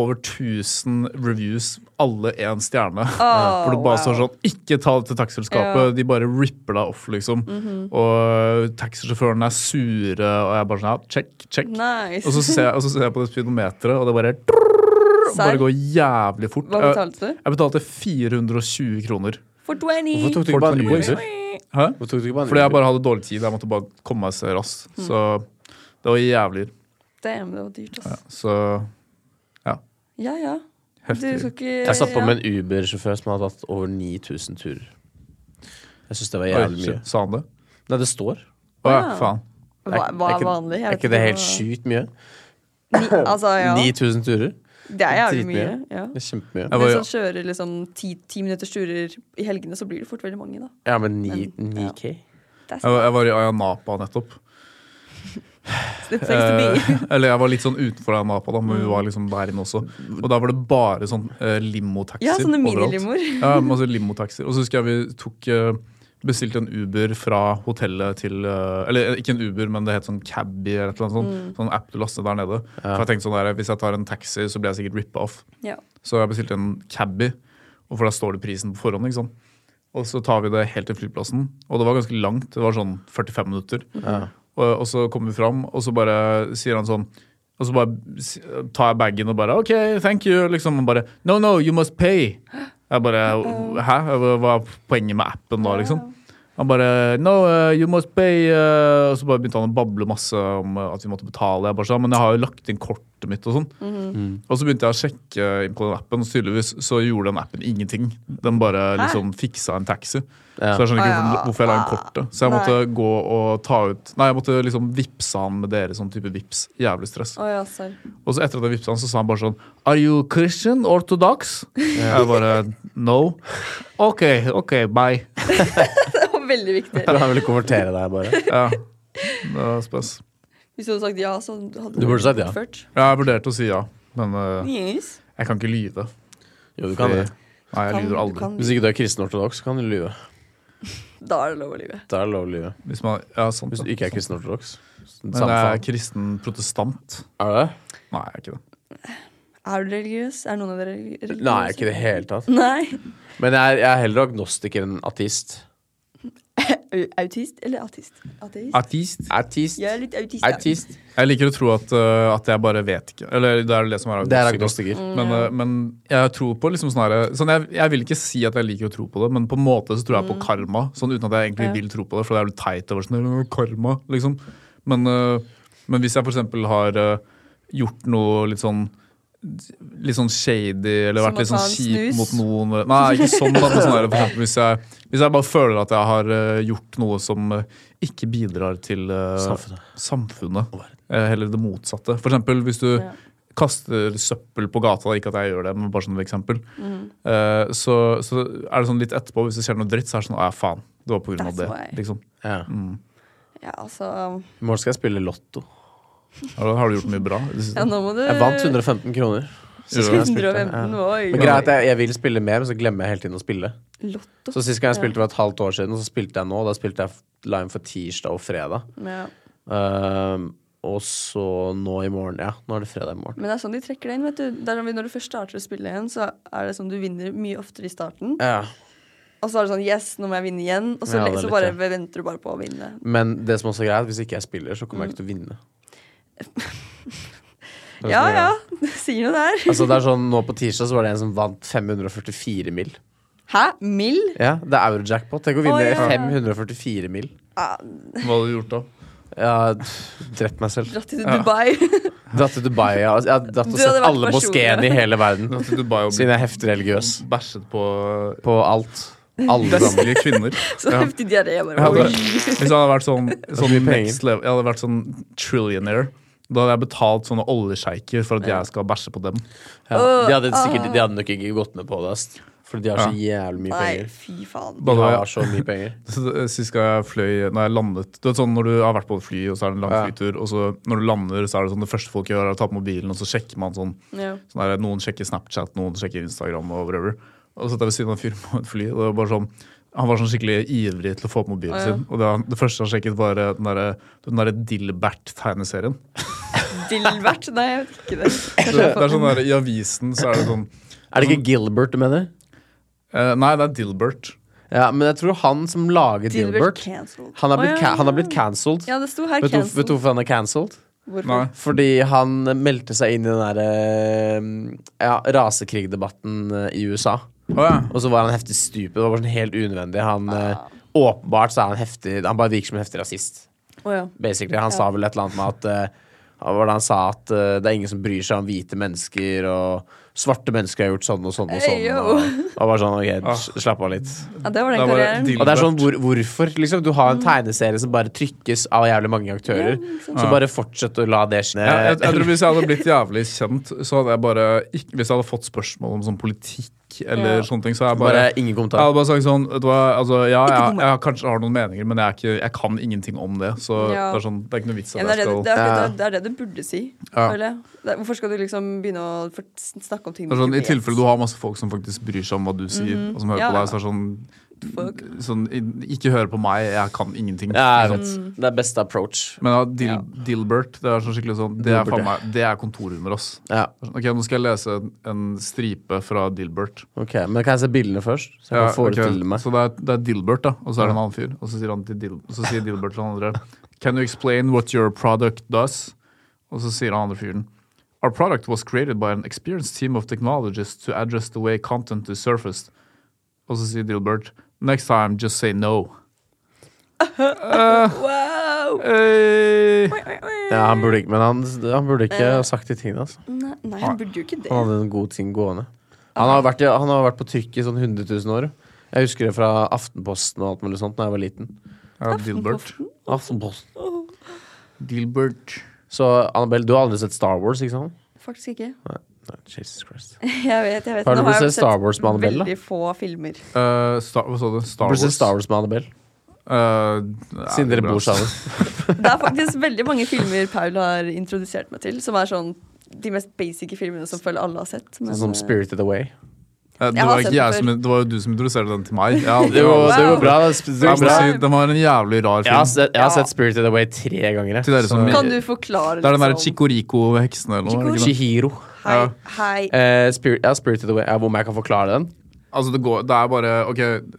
S4: over 1000 reviews, alle én stjerne. Hvor det bare står sånn Ikke ta det til taxiselskapet.
S2: Ja. Mhm.
S4: De bare ripper deg off, liksom. Og eh, taxisjåførene er sure, og jeg bare sånn ja, check, check.
S2: Nice.
S4: Og så ser jeg, og så ser jeg på det speedometeret, og det bare,
S2: Serr?
S4: bare går jævlig fort.
S2: Hva betalte du?
S4: Jeg betalte 420 kroner.
S2: For 20!
S3: Hvorfor tok du ikke bare en Uber?
S4: Hæ?
S3: Hvorfor tok du ikke bare en
S4: Fordi jeg
S3: Uber?
S4: bare hadde dårlig tid. Jeg måtte bare komme meg så raskt.
S2: Mm.
S4: Så det var jævlig.
S2: Damn, det var dyrt, ass.
S4: Så
S2: Ja, ja. Du
S4: heftig.
S2: skal ikke
S3: Jeg satt på
S2: ja.
S3: med en Uber-sjåfør som hadde hatt over 9000 turer. Jeg syns det var
S4: Oi,
S3: jævlig mye.
S4: shit, Sa han det?
S3: Nei, det står.
S4: Å ja,
S2: Ja.
S4: faen.
S2: Hva,
S3: Er ikke-
S2: hva
S3: er
S2: er
S3: ikke-
S2: vanlig? Jeg
S3: Er
S2: vet
S3: ikke det helt
S2: hva-
S3: sjukt mye?
S2: Ni- Altså, ja.
S3: 9000 turer?
S2: Det er jævlig mye.
S3: Dritmye.
S2: Ja.
S3: Det er kjempemye.
S4: Jeg
S2: Hvis
S4: var,
S2: han kjører liksom ti, ti minutters turer i helgene, så blir det fort veldig mange, da.
S3: Ja, men ni-
S2: Men, ja.
S3: 9K?
S2: Det er
S4: jeg, var- jeg var i Ayanapa nettopp.
S2: slitt sex to be.
S4: Eh, eller jeg var litt sånn utenfor Ayanapa, da, men vi
S2: Mm.
S4: var liksom der inne også. Og da var det bare sånn eh, limotaxier
S2: Ja, sånne
S4: overalt.
S2: minilimoer.
S4: Ja, masse limotaxier. Og så husker jeg vi tok eh, Bestilte en Uber fra hotellet til eh, Eller eh, ikke en Uber, men det het sånn Cabby eller et eller annet sånt.
S2: Mm.
S4: Sånn app du laster der nede. For jeg tenkte sånn der, Hvis jeg tar en taxi, så blir jeg sikkert rippa off.
S2: Ja.
S4: Så jeg bestilte en Cabby, og for da står det prisen på forhånd. ikke sant? Og så tar vi det helt til flyplassen, og det var ganske langt. Det var sånn 45 minutter. Og, og så kommer vi fram, og så bare sier han sånn Og så bare si- tar jeg bagen og bare OK, thank you. Liksom og bare No, no, you must pay. Jeg bare Hæ? Hva hva er poenget med appen da, liksom? Han bare No, eh, you must pay. eh», og så bare begynte han å bable masse om eh, at vi måtte betale. Jeg bare sa, Men jeg har jo lagt inn kortet mitt og sånn. Og så begynte jeg å sjekke inn på den appen, og tydeligvis så gjorde den appen ingenting. Den bare liksom fiksa en taxi.
S3: Ja.
S4: Så jeg skjønner ikke
S2: Ah, ja.
S4: hvorfor- hvorfor jeg la inn kortet. Så jeg måtte
S2: Nei.
S4: gå og ta ut Nei, jeg måtte liksom vippse han med dere sånn type vips. Jævlig stress.
S2: Å ja, serr.
S4: Og så etter at jeg vippsa han, så sa han bare sånn Are you Christian orthodox? Jeg bare No. OK, OK, bye.
S2: Det var veldig viktig.
S3: Han ville konvertere deg, bare.
S4: Ja. Det var spes.
S2: Hvis du hadde sagt ja, så hadde
S3: Du burde sagt ja.
S2: Ført.
S4: Ja, jeg vurderte å si ja, men eh,
S2: Yes.
S4: jeg kan ikke lyve.
S3: Jo, du kan det.
S4: Nei, jeg
S2: Kan-
S4: lyver
S2: du
S4: aldri.
S2: kan-
S3: Hvis ikke du er kristen ortodoks, kan du lyve.
S2: Da er det lov å lyve.
S3: Da er det lov å lyve.
S4: Hvis, man, ja, sant,
S3: Hvis du
S4: ja.
S3: ikke er kristen ortodoks. Samme
S4: Men jeg er
S3: faen.
S4: kristen protestant.
S3: Er du det?
S4: Nei, jeg er ikke det.
S2: Er du religiøs? Er noen av dere relig- religiøse?
S3: Nei, ikke i det hele tatt.
S2: Nei.
S3: Men jeg er, jeg er heller agnostiker enn ateist.
S2: Au- Autist eller autist? Ateist?
S4: Artist.
S3: Ateist.
S2: Jeg er litt autist. ja.
S3: Ateist.
S4: Jeg liker å tro at, eh, at jeg bare vet ikke. Eller det er det som er
S3: Det er agnostiker.
S2: Mm,
S4: Men, eh, men jeg tror på liksom sånn her- sånn jeg, jeg vil ikke si at jeg liker å tro på det, men på en måte så tror jeg på
S2: Mm.
S4: karma. Sånn uten at jeg egentlig vil tro på det, for det er litt teit. å være sånn, «Åh, karma, liksom. Men, eh, men hvis jeg for eksempel har eh, gjort noe litt sånn Litt sånn shady, eller
S2: Som
S4: vært litt
S2: å ta
S4: sånn
S2: en
S4: kjip
S2: snus?
S4: mot noen eller- Nei, ikke sånn, da. Men sånn her, for eksempel, hvis, jeg, hvis jeg bare føler at jeg har eh, gjort noe som eh, ikke bidrar til eh,
S3: Samfunnet.
S4: samfunnet. Eh, Heller det motsatte. For eksempel hvis du
S2: Ja.
S4: kaster søppel på gata, ikke at jeg gjør det, men bare som et eksempel,
S2: Mhm.
S4: eh, så, så er det sånn litt etterpå, hvis det skjer noe dritt, så er det sånn Å ja, faen. Det var på grunn av
S2: That's
S4: det.
S2: why.
S4: Liksom.
S3: Ja.
S2: Ja, altså
S3: I morgen skal jeg spille lotto.
S4: Har du- Har du gjort mye bra? i det siste?
S2: Ja, nå må du
S3: Jeg vant 115 kroner. Sist gang jeg spilte.
S2: 115,
S3: Ja.
S2: oi.
S3: Men greit, jeg, jeg vil spille mer, men så glemmer jeg hele tiden å spille.
S2: Lotto.
S3: Så Sist gang jeg spilte var et halvt år siden, og så spilte jeg nå. og Da spilte jeg Lime for tirsdag og fredag.
S2: Ja.
S3: Ehm, og så nå i morgen. Ja, nå er det fredag i morgen.
S2: Men det er sånn de trekker det inn. vet du. Det er sånn, når du først starter å spille igjen, så er det sånn du vinner mye oftere i starten.
S3: Ja.
S2: Og så er det sånn Yes, nå må jeg vinne igjen. Og så,
S3: Ja, det er
S2: så
S3: litt
S2: bare
S3: det.
S2: venter du bare på å vinne.
S3: Men det som også er greit, hvis ikke jeg spiller, så kommer jeg ikke til å vinne. Det er
S2: Ja
S3: sånn,
S2: ja, det sier noe der.
S3: Altså det er sånn, Nå på tirsdag så var det en som vant 544 mil.
S2: Hæ? Mill?
S3: Ja, Det er euro-jackpot. Tenk å vinne
S2: Å, ja.
S3: 544 mil.
S2: Ja,
S4: Hva har du gjort da?
S3: Jeg har drept meg selv.
S2: dratt til Dubai.
S3: Dratt til Dubai. Jeg har, jeg har dratt
S2: Du hadde
S3: og sett
S2: vært
S3: alle moskeene
S2: personlig.
S3: i hele verden.
S4: At du bare
S3: Siden
S4: ble
S3: jeg er heftig religiøs.
S4: bæsjet på
S3: På alt. Alle sammen.
S4: vestlige kvinner.
S2: Så
S4: Ja.
S2: heftig diaré. Jeg
S4: Jeg hadde,
S2: bare, oi.
S4: hvis jeg hadde vært sånn, sånn
S3: mye penger.
S4: next level, jeg hadde vært sånn trillionaire, da hadde jeg betalt sånne oljesjeiker for at jeg skal bæsje på dem.
S3: Ja. De, hadde sikkert, de hadde nok ikke gått med på det. ass. Fordi de har så jævlig mye
S2: Nei,
S3: penger.
S2: fy faen.
S4: Da
S3: De
S4: hadde jeg
S3: har så mye penger.
S4: Så Sist gang jeg fløy, når jeg landet Du vet sånn når du har vært på et fly, og så er det en lang
S3: Ja.
S4: flytur, og så når du lander, så er det sånn det første folk gjør, er å ta på mobilen, og så sjekker man sånn,
S2: Ja.
S4: sånn der, Noen sjekker Snapchat, noen sjekker Instagram og whatever. Og så satt jeg ved siden av en fyr på et fly, og det var bare sånn han var sånn skikkelig ivrig til å få opp mobilen
S2: ja.
S4: sin. Og det, han- det første han sjekket, var eh, den derre der Dilbert-tegneserien.
S2: Dilbert? Nei, jeg vet ikke det.
S4: Det, det er sånn der, I avisen så er det sånn
S3: Er det ikke Gilbert du mener?
S4: eh, Nei, det er Dilbert.
S3: Ja, Men jeg tror han som lager
S2: Dilbert
S3: Dilbert,
S2: cancelled.
S3: han har blitt,
S2: Å, ja.
S3: ca- han har blitt cancelled.
S2: Ja, det sto her
S3: Vet du hvorfor- vet du
S2: cancelled.
S3: hvorfor han er cancelled?
S4: Nei.
S2: Hvorfor?
S3: Fordi han meldte seg inn i den derre ja, rasekrigdebatten eh, i USA.
S4: Å ja.
S3: Og så var han heftig stupid. Det var bare sånn helt unødvendig. Han, eh, Åpenbart så er han heftig Han bare virker som en heftig rasist.
S2: Å ja.
S3: Basically, Han sa vel et eller annet med at eh, hva var det han sa at eh, det er ingen som bryr seg om hvite mennesker, og Svarte mennesker har gjort sånn og sånn og sånn.
S2: Hey, yo.
S3: og, og bare sånn, ok,
S4: Ah.
S3: s- slapp av litt.
S2: Ja, det var den
S4: Da var det
S2: karrieren.
S4: deal.
S3: Og det er sånn, hvor, hvorfor? liksom, Du har
S2: Mm.
S3: en tegneserie som bare trykkes av jævlig mange aktører. Så bare fortsett å la det skje.
S4: Ah. Ja, jeg,
S2: Eh,
S4: jeg tror Hvis jeg hadde blitt jævlig kjent, så hadde jeg bare ikke, Hvis jeg hadde fått spørsmål om sånn politikk eller
S2: Ja.
S4: sånne ting, så hadde jeg
S3: bare
S4: bare,
S3: ingen
S4: jeg
S3: kommentar.
S4: hadde bare sagt sånn vet du hva, altså, Ja,
S2: Ikke
S4: jeg,
S2: dumme.
S4: jeg kanskje har noen meninger, men jeg, er ikke, jeg kan ingenting om det. Så
S2: Ja.
S4: det, er sånn, det er ikke noe vits
S2: Ja,
S4: at
S2: men det, er det,
S4: jeg skal
S2: det, er, akkurat
S3: Ja.
S2: det, det er det du burde si.
S3: Ja.
S2: føler jeg. Det er, hvorfor skal du liksom begynne å for- snakke om ting
S4: det er sånn, I
S2: vet?
S4: tilfelle du har masse folk som faktisk bryr seg om hva du sier, og som
S2: Mhm.
S4: hører
S2: Ja,
S4: på
S2: ja.
S4: deg, så er det sånn,
S2: Fuck.
S4: sånn i- Ikke høre på meg, jeg kan ingenting.
S3: Ja, jeg
S4: Ikke
S3: vet.
S4: sant?
S2: Mm.
S3: Det er beste approach.
S4: Men ja, Dil Dilbert, det er sånn skikkelig sånn Det er,
S3: Dilbert,
S4: faen
S3: ja.
S4: meg, det er kontorhumor, ass.
S3: Ja,
S4: Ok, Nå skal jeg lese en, en stripe fra Dilbert.
S3: ok, Men kan jeg se bildene først? Så jeg
S4: Ja,
S3: kan forestille
S4: ok.
S3: meg.
S4: Så det er, det er Dilbert, da, og så er det en annen fyr. Og så sier, han til Dil og så sier Dilbert til han andre Can you explain what your product does? Og så sier han andre fyren Our product was created by an experienced team of technologists to address the way content is surfaced. Og så sier Dilbert Next time, just say no. Eh,
S2: Wow!
S4: Hey.
S3: Ja, han burde, ikke- men han, han burde ikke ha sagt de tingene. Altså.
S2: Nei, nei, han burde jo ikke det.
S3: Han hadde en god ting gående. Han har vært, i- han har vært på trykk i sånn 100 000 år. Jeg husker det fra Aftenposten og alt mulig sånt da jeg var liten.
S4: Ja, Dilbert.
S3: Aftenposten.
S4: Dilbert.
S3: Så Annabelle, du har aldri sett Star Wars, ikke sant?
S2: Faktisk ikke.
S3: Nei, nei Jesus Christ.
S2: Jeg vet, jeg vet.
S3: Har du
S2: Nå
S3: fått
S2: jeg
S3: se Star Wars med Annabelle, da?
S2: Veldig få filmer.
S4: Eh, Star, hva sa du? Star
S3: Har du sett
S4: Wars.
S3: Star Wars med Annabelle?
S4: Eh,
S3: Siden
S4: ja, det er
S3: dere
S4: bra.
S3: bor sammen.
S2: Det er faktisk veldig mange filmer Paul har introdusert meg til, som er sånn de mest basic filmene som føler alle har sett. men-
S3: Sånn som Spirited Away.
S4: Eh,
S2: Jeg
S4: Det
S2: har
S4: var,
S2: sett
S4: ikke
S2: den
S4: jeg
S2: før.
S4: som, det var jo du som introduserte den til meg. Jeg har aldri-
S3: Det går, det går bra. Det
S4: Jeg
S3: går
S4: må
S3: bra.
S4: si, den var en jævlig rar
S3: Jeg har,
S4: film.
S3: sett, jeg har
S2: Ja.
S3: sett Spirited Away tre ganger. jeg.
S4: Til dere som-
S3: Så-
S2: Kan du forklare
S4: Det er den derre
S2: liksom-
S4: Chikoriko-heksene eller noe. er det ikke det?
S3: Chihiro.
S2: Hei,
S4: Ja.
S2: hei.
S3: Eh, Spirit, ja, Spirited Away. Ja, om jeg kan forklare den?
S4: Altså, det, går, det er bare OK,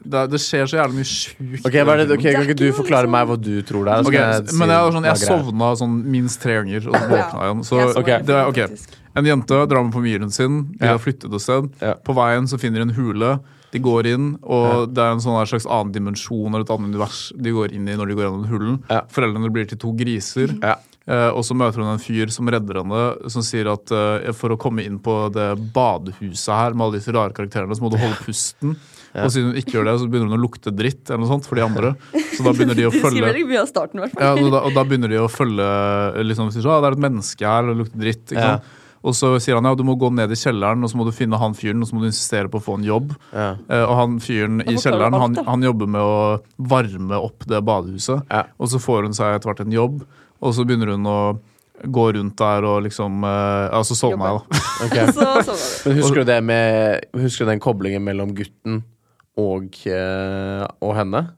S4: det, er- det skjer så jævlig mye sjukt.
S3: Ok, hva er det, ok,
S2: Det er
S3: Kan ikke
S2: ikke
S3: du
S2: noe
S3: forklare
S2: liksom-
S3: meg hva du tror det er? så
S4: Ok,
S3: kan si
S4: men jeg, var sånn,
S3: hva
S4: jeg
S3: greia er.
S4: sovna sånn minst tre ganger, og så våkna jeg igjen. Så
S2: Jeg så
S3: Ok.
S4: det er, ok.
S2: faktisk.
S4: En jente drar med familien sin, de
S3: Ja.
S4: har flyttet et sted.
S3: Ja.
S4: På veien så finner de en hule, de går inn, og det er en sånn her slags annen dimensjon eller et annet univers de går inn i når de går gjennom hulen.
S3: Ja.
S4: Foreldrene blir til to griser.
S3: Ja.
S4: Eh, og så møter hun en fyr som redder henne, som sier at eh, for å komme inn på det badehuset her med alle disse rare karakterene, så må du holde pusten. Og siden hun ikke gjør det, så begynner hun å lukte dritt eller noe sånt for de andre. Så da begynner de å
S2: Du skriver
S4: følge
S2: veldig mye av starten, i hvert fall.
S4: ja, og, da, og da begynner de å følge liksom, sier, så, ah, Det er et menneske her, og det lukter dritt. Ikke
S3: Ja.
S4: sant? Og så sier han ja, du må gå ned i kjelleren og så må du finne han fyren og så må du insistere på å få en jobb.
S3: Ja.
S4: Eh, og han fyren i
S2: Da forklarer
S4: kjelleren
S2: du alt,
S4: han,
S2: da.
S4: han jobber med å varme opp det badehuset.
S3: Ja.
S4: Og så får hun seg etter hvert en jobb, og så begynner hun å gå rundt der og liksom eh, Ja, så sovna jeg, da.
S3: ok.
S2: Så, så var det.
S3: Men husker du det med Husker du den koblingen mellom gutten og, eh, og henne?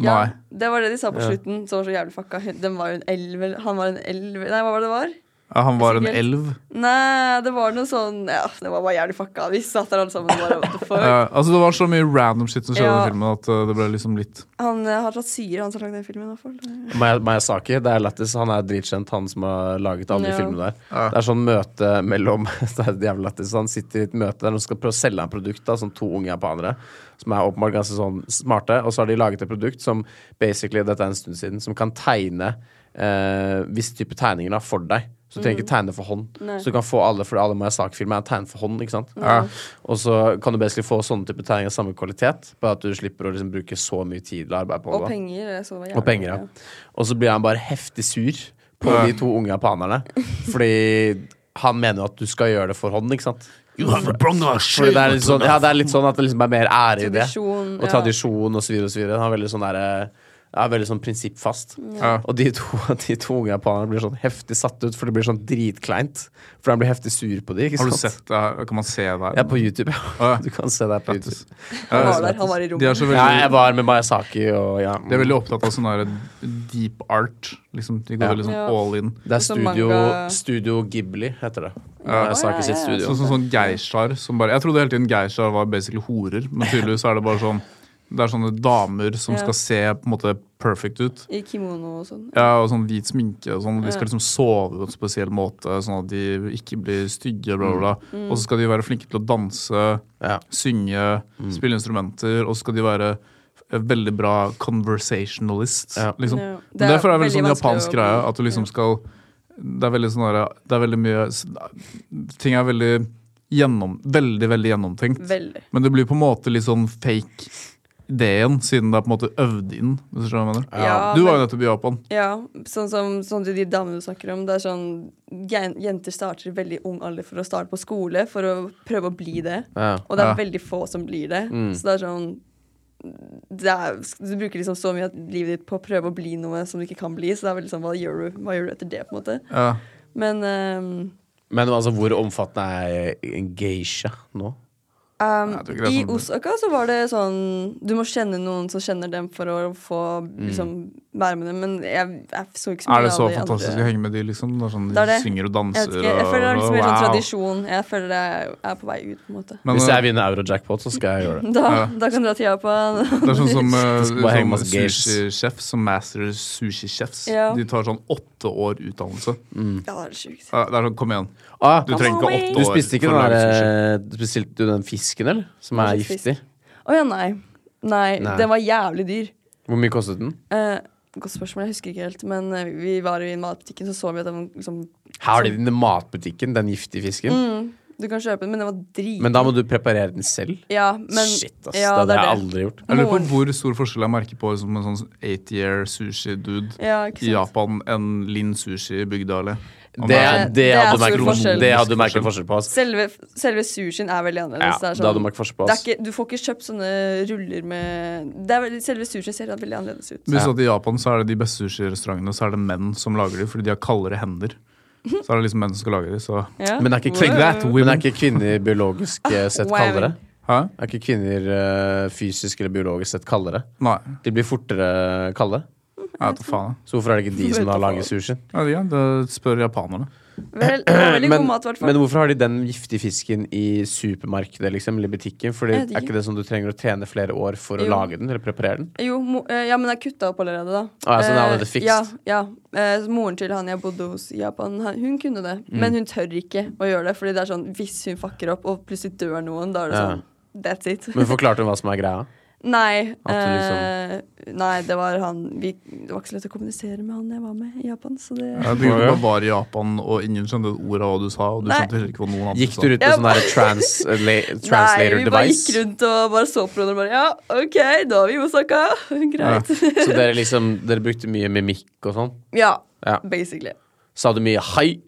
S2: Ja,
S4: Nei.
S2: det var det de sa på slutten, som var så jævlig fucka. Hun- Den var jo en elv, eller- han var en elv Nei, hva var det det var?
S4: Ja, han var en
S2: Sikkert.
S4: elv.
S2: Nei, det var noe sånn Ja, det var bare jævlig fucka. Vi satt der alle sammen og bare what the fuck?
S4: Eh, altså Det var så mye random shit som skjedde
S2: Ja.
S4: i filmen at eh, det ble liksom litt
S2: Han eh, har tatt syre, han som lagde den filmen. i hvert fall.
S3: Maya- Miyazaki. Det er lættis. Han er dritkjent, han som har laget alle de
S2: Ja.
S3: filmene der. Det er sånn møte mellom Det er jævlig lættis. Han sitter i et møte der og skal prøve å selge en produkt. Da, sånn to unge japanere som er åpenbart ganske sånn smarte. Og så har de laget et produkt som basically, dette er en stund siden, som kan tegne eh, visse typer tegninger da, for deg. Så du
S2: Mm.
S3: trenger ikke tegne for hånd. Så du kan få alle, for alle Miyazaki-filmer er tegnet for hånd. ikke sant? Og så kan du basically få sånne typer tegninger av samme kvalitet, bare at du slipper å liksom, bruke så mye tid og arbeid på det.
S2: Og
S3: da.
S2: penger. jeg Så det var jævlig
S3: Og penger,
S2: fucka.
S3: ja. Og så blir han bare heftig sur på de to unge japanerne. Fordi han mener jo at du skal gjøre det for hånd, ikke sant? Fordi det er litt sånn, ja, det er litt sånn at det liksom er mer ære i det.
S2: Tradisjon,
S3: Og
S2: ja.
S3: tradisjon og så videre og så videre. Han er veldig sånn der, eh, er veldig sånn prinsippfast.
S4: Ja.
S3: Og de to, de to unge japanerne blir sånn heftig satt ut, for det blir sånn dritkleint. For han blir heftig sur på de, ikke
S4: Har
S3: sant?
S4: du sett det her? Kan man se det her?
S3: Ja, på YouTube. Ja.
S4: Ja.
S3: Du kan se det her på YouTube.
S2: Han var der, han var i
S4: De er
S2: rommet.
S4: så veldig,
S3: Ja, jeg var med Mayasaki og ja.
S4: de er veldig opptatt av sånn her deep art. Liksom, de går
S3: Ja.
S4: veldig sånn
S2: Ja.
S4: all in.
S3: Det er
S2: Som
S3: studio,
S2: manga-
S3: studio Ghibli, heter det.
S4: Ja.
S3: Miyazaki sitt
S2: Å, ja, ja, ja.
S3: studio.
S4: Sånn som sånn geishaer som bare Jeg trodde hele tiden geishaer var basically horer, men tydeligvis er det bare sånn Det er sånne damer som
S2: Ja.
S4: skal se på en måte perfect ut.
S2: I kimono og sånn.
S4: Ja, og sånn hvit sminke og sånn. De skal liksom sove på en spesiell måte, sånn at de ikke blir stygge, bla, bla, bla.
S2: Mm.
S4: Og så skal de være flinke til å danse,
S3: Ja. Mm.
S4: synge, spille instrumenter, og så skal de være eh, veldig bra conversationalist,
S3: Ja.
S4: liksom.
S2: Ja. Det
S4: Men
S2: er
S4: derfor er det veldig sånn
S2: veldig vanskelig
S4: japansk
S2: å-
S4: greie, at du liksom skal Det er veldig sånn derre Det er veldig mye Ting er veldig gjennom, veldig, veldig gjennomtenkt.
S2: Veldig.
S4: Men det blir på en måte litt sånn fake ideen, siden det er på en måte øvd inn. Hvis du skjønner hva jeg mener.
S2: Ja,
S4: du var jo
S2: men-
S4: nettopp i Japan.
S2: Ja, sånn som sånn til de damene du snakker om. Det er sånn, jen- Jenter starter i veldig ung alder for å starte på skole, for å prøve å bli det.
S3: Ja.
S2: Og det er
S4: Ja. Mm.
S2: veldig få som blir det. Så det er sånn det er, Du bruker liksom så mye av livet ditt på å prøve å bli noe som du ikke kan bli. Så det er veldig sånn, hva gjør du, hva gjør du etter det, på en måte?
S4: Ja.
S2: Men ehm,
S3: Men altså, hvor omfattende er en geisha nå?
S2: Um,
S4: Nei, jeg tror ikke det er
S2: I
S4: sånn-
S2: Osaka så var det sånn Du må kjenne noen som kjenner dem for å få liksom, være med dem. Men jeg, jeg så ikke så mye
S4: Mm. Er det så
S2: av de
S4: fantastisk å
S2: andre.
S4: henge med de, liksom? Det er sånn,
S2: Det er
S4: de
S2: det.
S4: synger og
S2: Jeg vet
S4: danser
S2: ikke, jeg føler det er liksom mer sånn
S4: wow.
S2: tradisjon. Jeg føler det er, er på vei ut, på en måte.
S4: Men,
S3: Hvis
S4: eh,
S3: jeg vinner euro-jackpot, så skal jeg gjøre det.
S2: Da,
S4: Ja.
S2: da kan du dra til Japan.
S4: Det er sånn som eh,
S3: skal bare henge
S4: sånn
S3: masse gays.
S4: sushi-sjef, som master sushi-sjefs.
S2: Ja.
S4: De tar sånn åtte år utdannelse.
S2: Ja, det er sjukt.
S4: Ja, Det er sånn, kom igjen.
S3: Ah,
S4: Du trenger ikke åtte
S3: Du
S4: år.
S3: spiste ikke eh,
S4: for å
S3: den
S4: lage sushi.
S3: der, du bestilte du den fisken, eller? Som
S2: Hva
S3: er
S2: slags fisk?
S3: giftig.
S2: Å ja, nei. nei.
S3: Nei.
S2: Den var jævlig dyr.
S3: Hvor mye kostet den?
S2: Eh, godt spørsmål, jeg husker ikke helt. Men eh, vi var i matbutikken, så så vi at den var liksom
S3: Her har de den i matbutikken, den giftige fisken.
S2: Du kan kjøpe den, men den var drit.
S3: Men da må du preparere den selv.
S2: ja, men,
S3: Shit, ass.
S2: Ja, er
S3: det hadde jeg
S2: det.
S3: aldri gjort.
S4: Jeg lurer på
S2: Moren.
S4: hvor stor forskjell jeg merker på liksom, en sånn eight-year sushi-dude
S2: Ja, ikke
S4: i
S2: sant?
S4: Japan enn Linn Sushi i Bygdale.
S3: Det,
S2: er-
S3: det,
S2: det er
S3: hadde
S2: stor
S3: merket
S2: forskjell.
S3: forskjell. det hadde du merket forskjell på. Ass.
S2: Selve, selve sushien er veldig
S3: Ja,
S2: annerledes.
S3: det
S2: sånn-
S3: hadde du merket forskjell på.
S2: det er
S3: Ass.
S2: ikke, du får ikke kjøpt sånne ruller med det er veldig, Selve sushien ser veldig annerledes ut.
S4: Hvis at I Japan så er det de beste sushirestaurantene så er det menn som lager dem, fordi de har kaldere hender. Så er det liksom menn som skal lage dem. Så.
S2: Ja.
S3: Men er ikke,
S4: Take that,
S3: kvinner, men er ikke kvinner biologisk eh, sett
S2: Wow.
S3: kaldere?
S4: Hæ?
S3: Er ikke kvinner eh, fysisk eller biologisk sett kaldere?
S4: Nei,
S3: De blir fortere kalde.
S4: jeg vet da faen. jeg.
S3: Så hvorfor er det ikke de som
S2: Vet
S3: har
S2: da
S3: laget sushien?
S4: Jeg vet ikke, det spør japanerne.
S2: Vel, det var veldig
S3: Men,
S2: god mat, i hvert
S3: men
S2: fall.
S3: hvorfor har de den giftige fisken i supermarkedet liksom, eller i butikken? Fordi
S2: Jeg vet
S3: Er
S2: ikke.
S3: ikke det sånn du trenger å trene flere år for å
S2: Jo.
S3: lage den eller preparere den?
S2: Jo, mo, eh, ja, men det er kutta opp allerede, da.
S3: Ah, ja, så den er
S2: Eh,
S3: allerede fikst.
S2: Ja, ja. Eh, så moren til han jeg bodde hos i Japan, han, hun kunne det.
S3: Mm.
S2: Men hun tør ikke å gjøre det, Fordi det er sånn hvis hun fucker opp, og plutselig dør noen, da er det
S3: Ja.
S2: sånn That's it.
S3: Men forklarte hun hva som er greia?
S2: Nei.
S3: At du liksom-
S2: eh, nei, det var han vi, Det var ikke så lett å kommunisere med han jeg var med i Japan, så det
S4: Jeg tenker at du bare var i Japan, og ingen skjønte et ord av hva du sa. Og du
S2: Nei.
S4: skjønte heller ikke hva noen andre
S3: Gikk du rundt med
S2: Ja.
S3: sånn her transla- translator
S2: Nei, vi bare gikk
S3: device?
S2: rundt og bare så på hverandre og bare Ja, OK, da er vi i Osaka. Greit.
S3: Så dere liksom Dere brukte mye mimikk og sånn?
S2: Ja.
S3: Ja.
S2: basically.
S3: Sa du mye hei?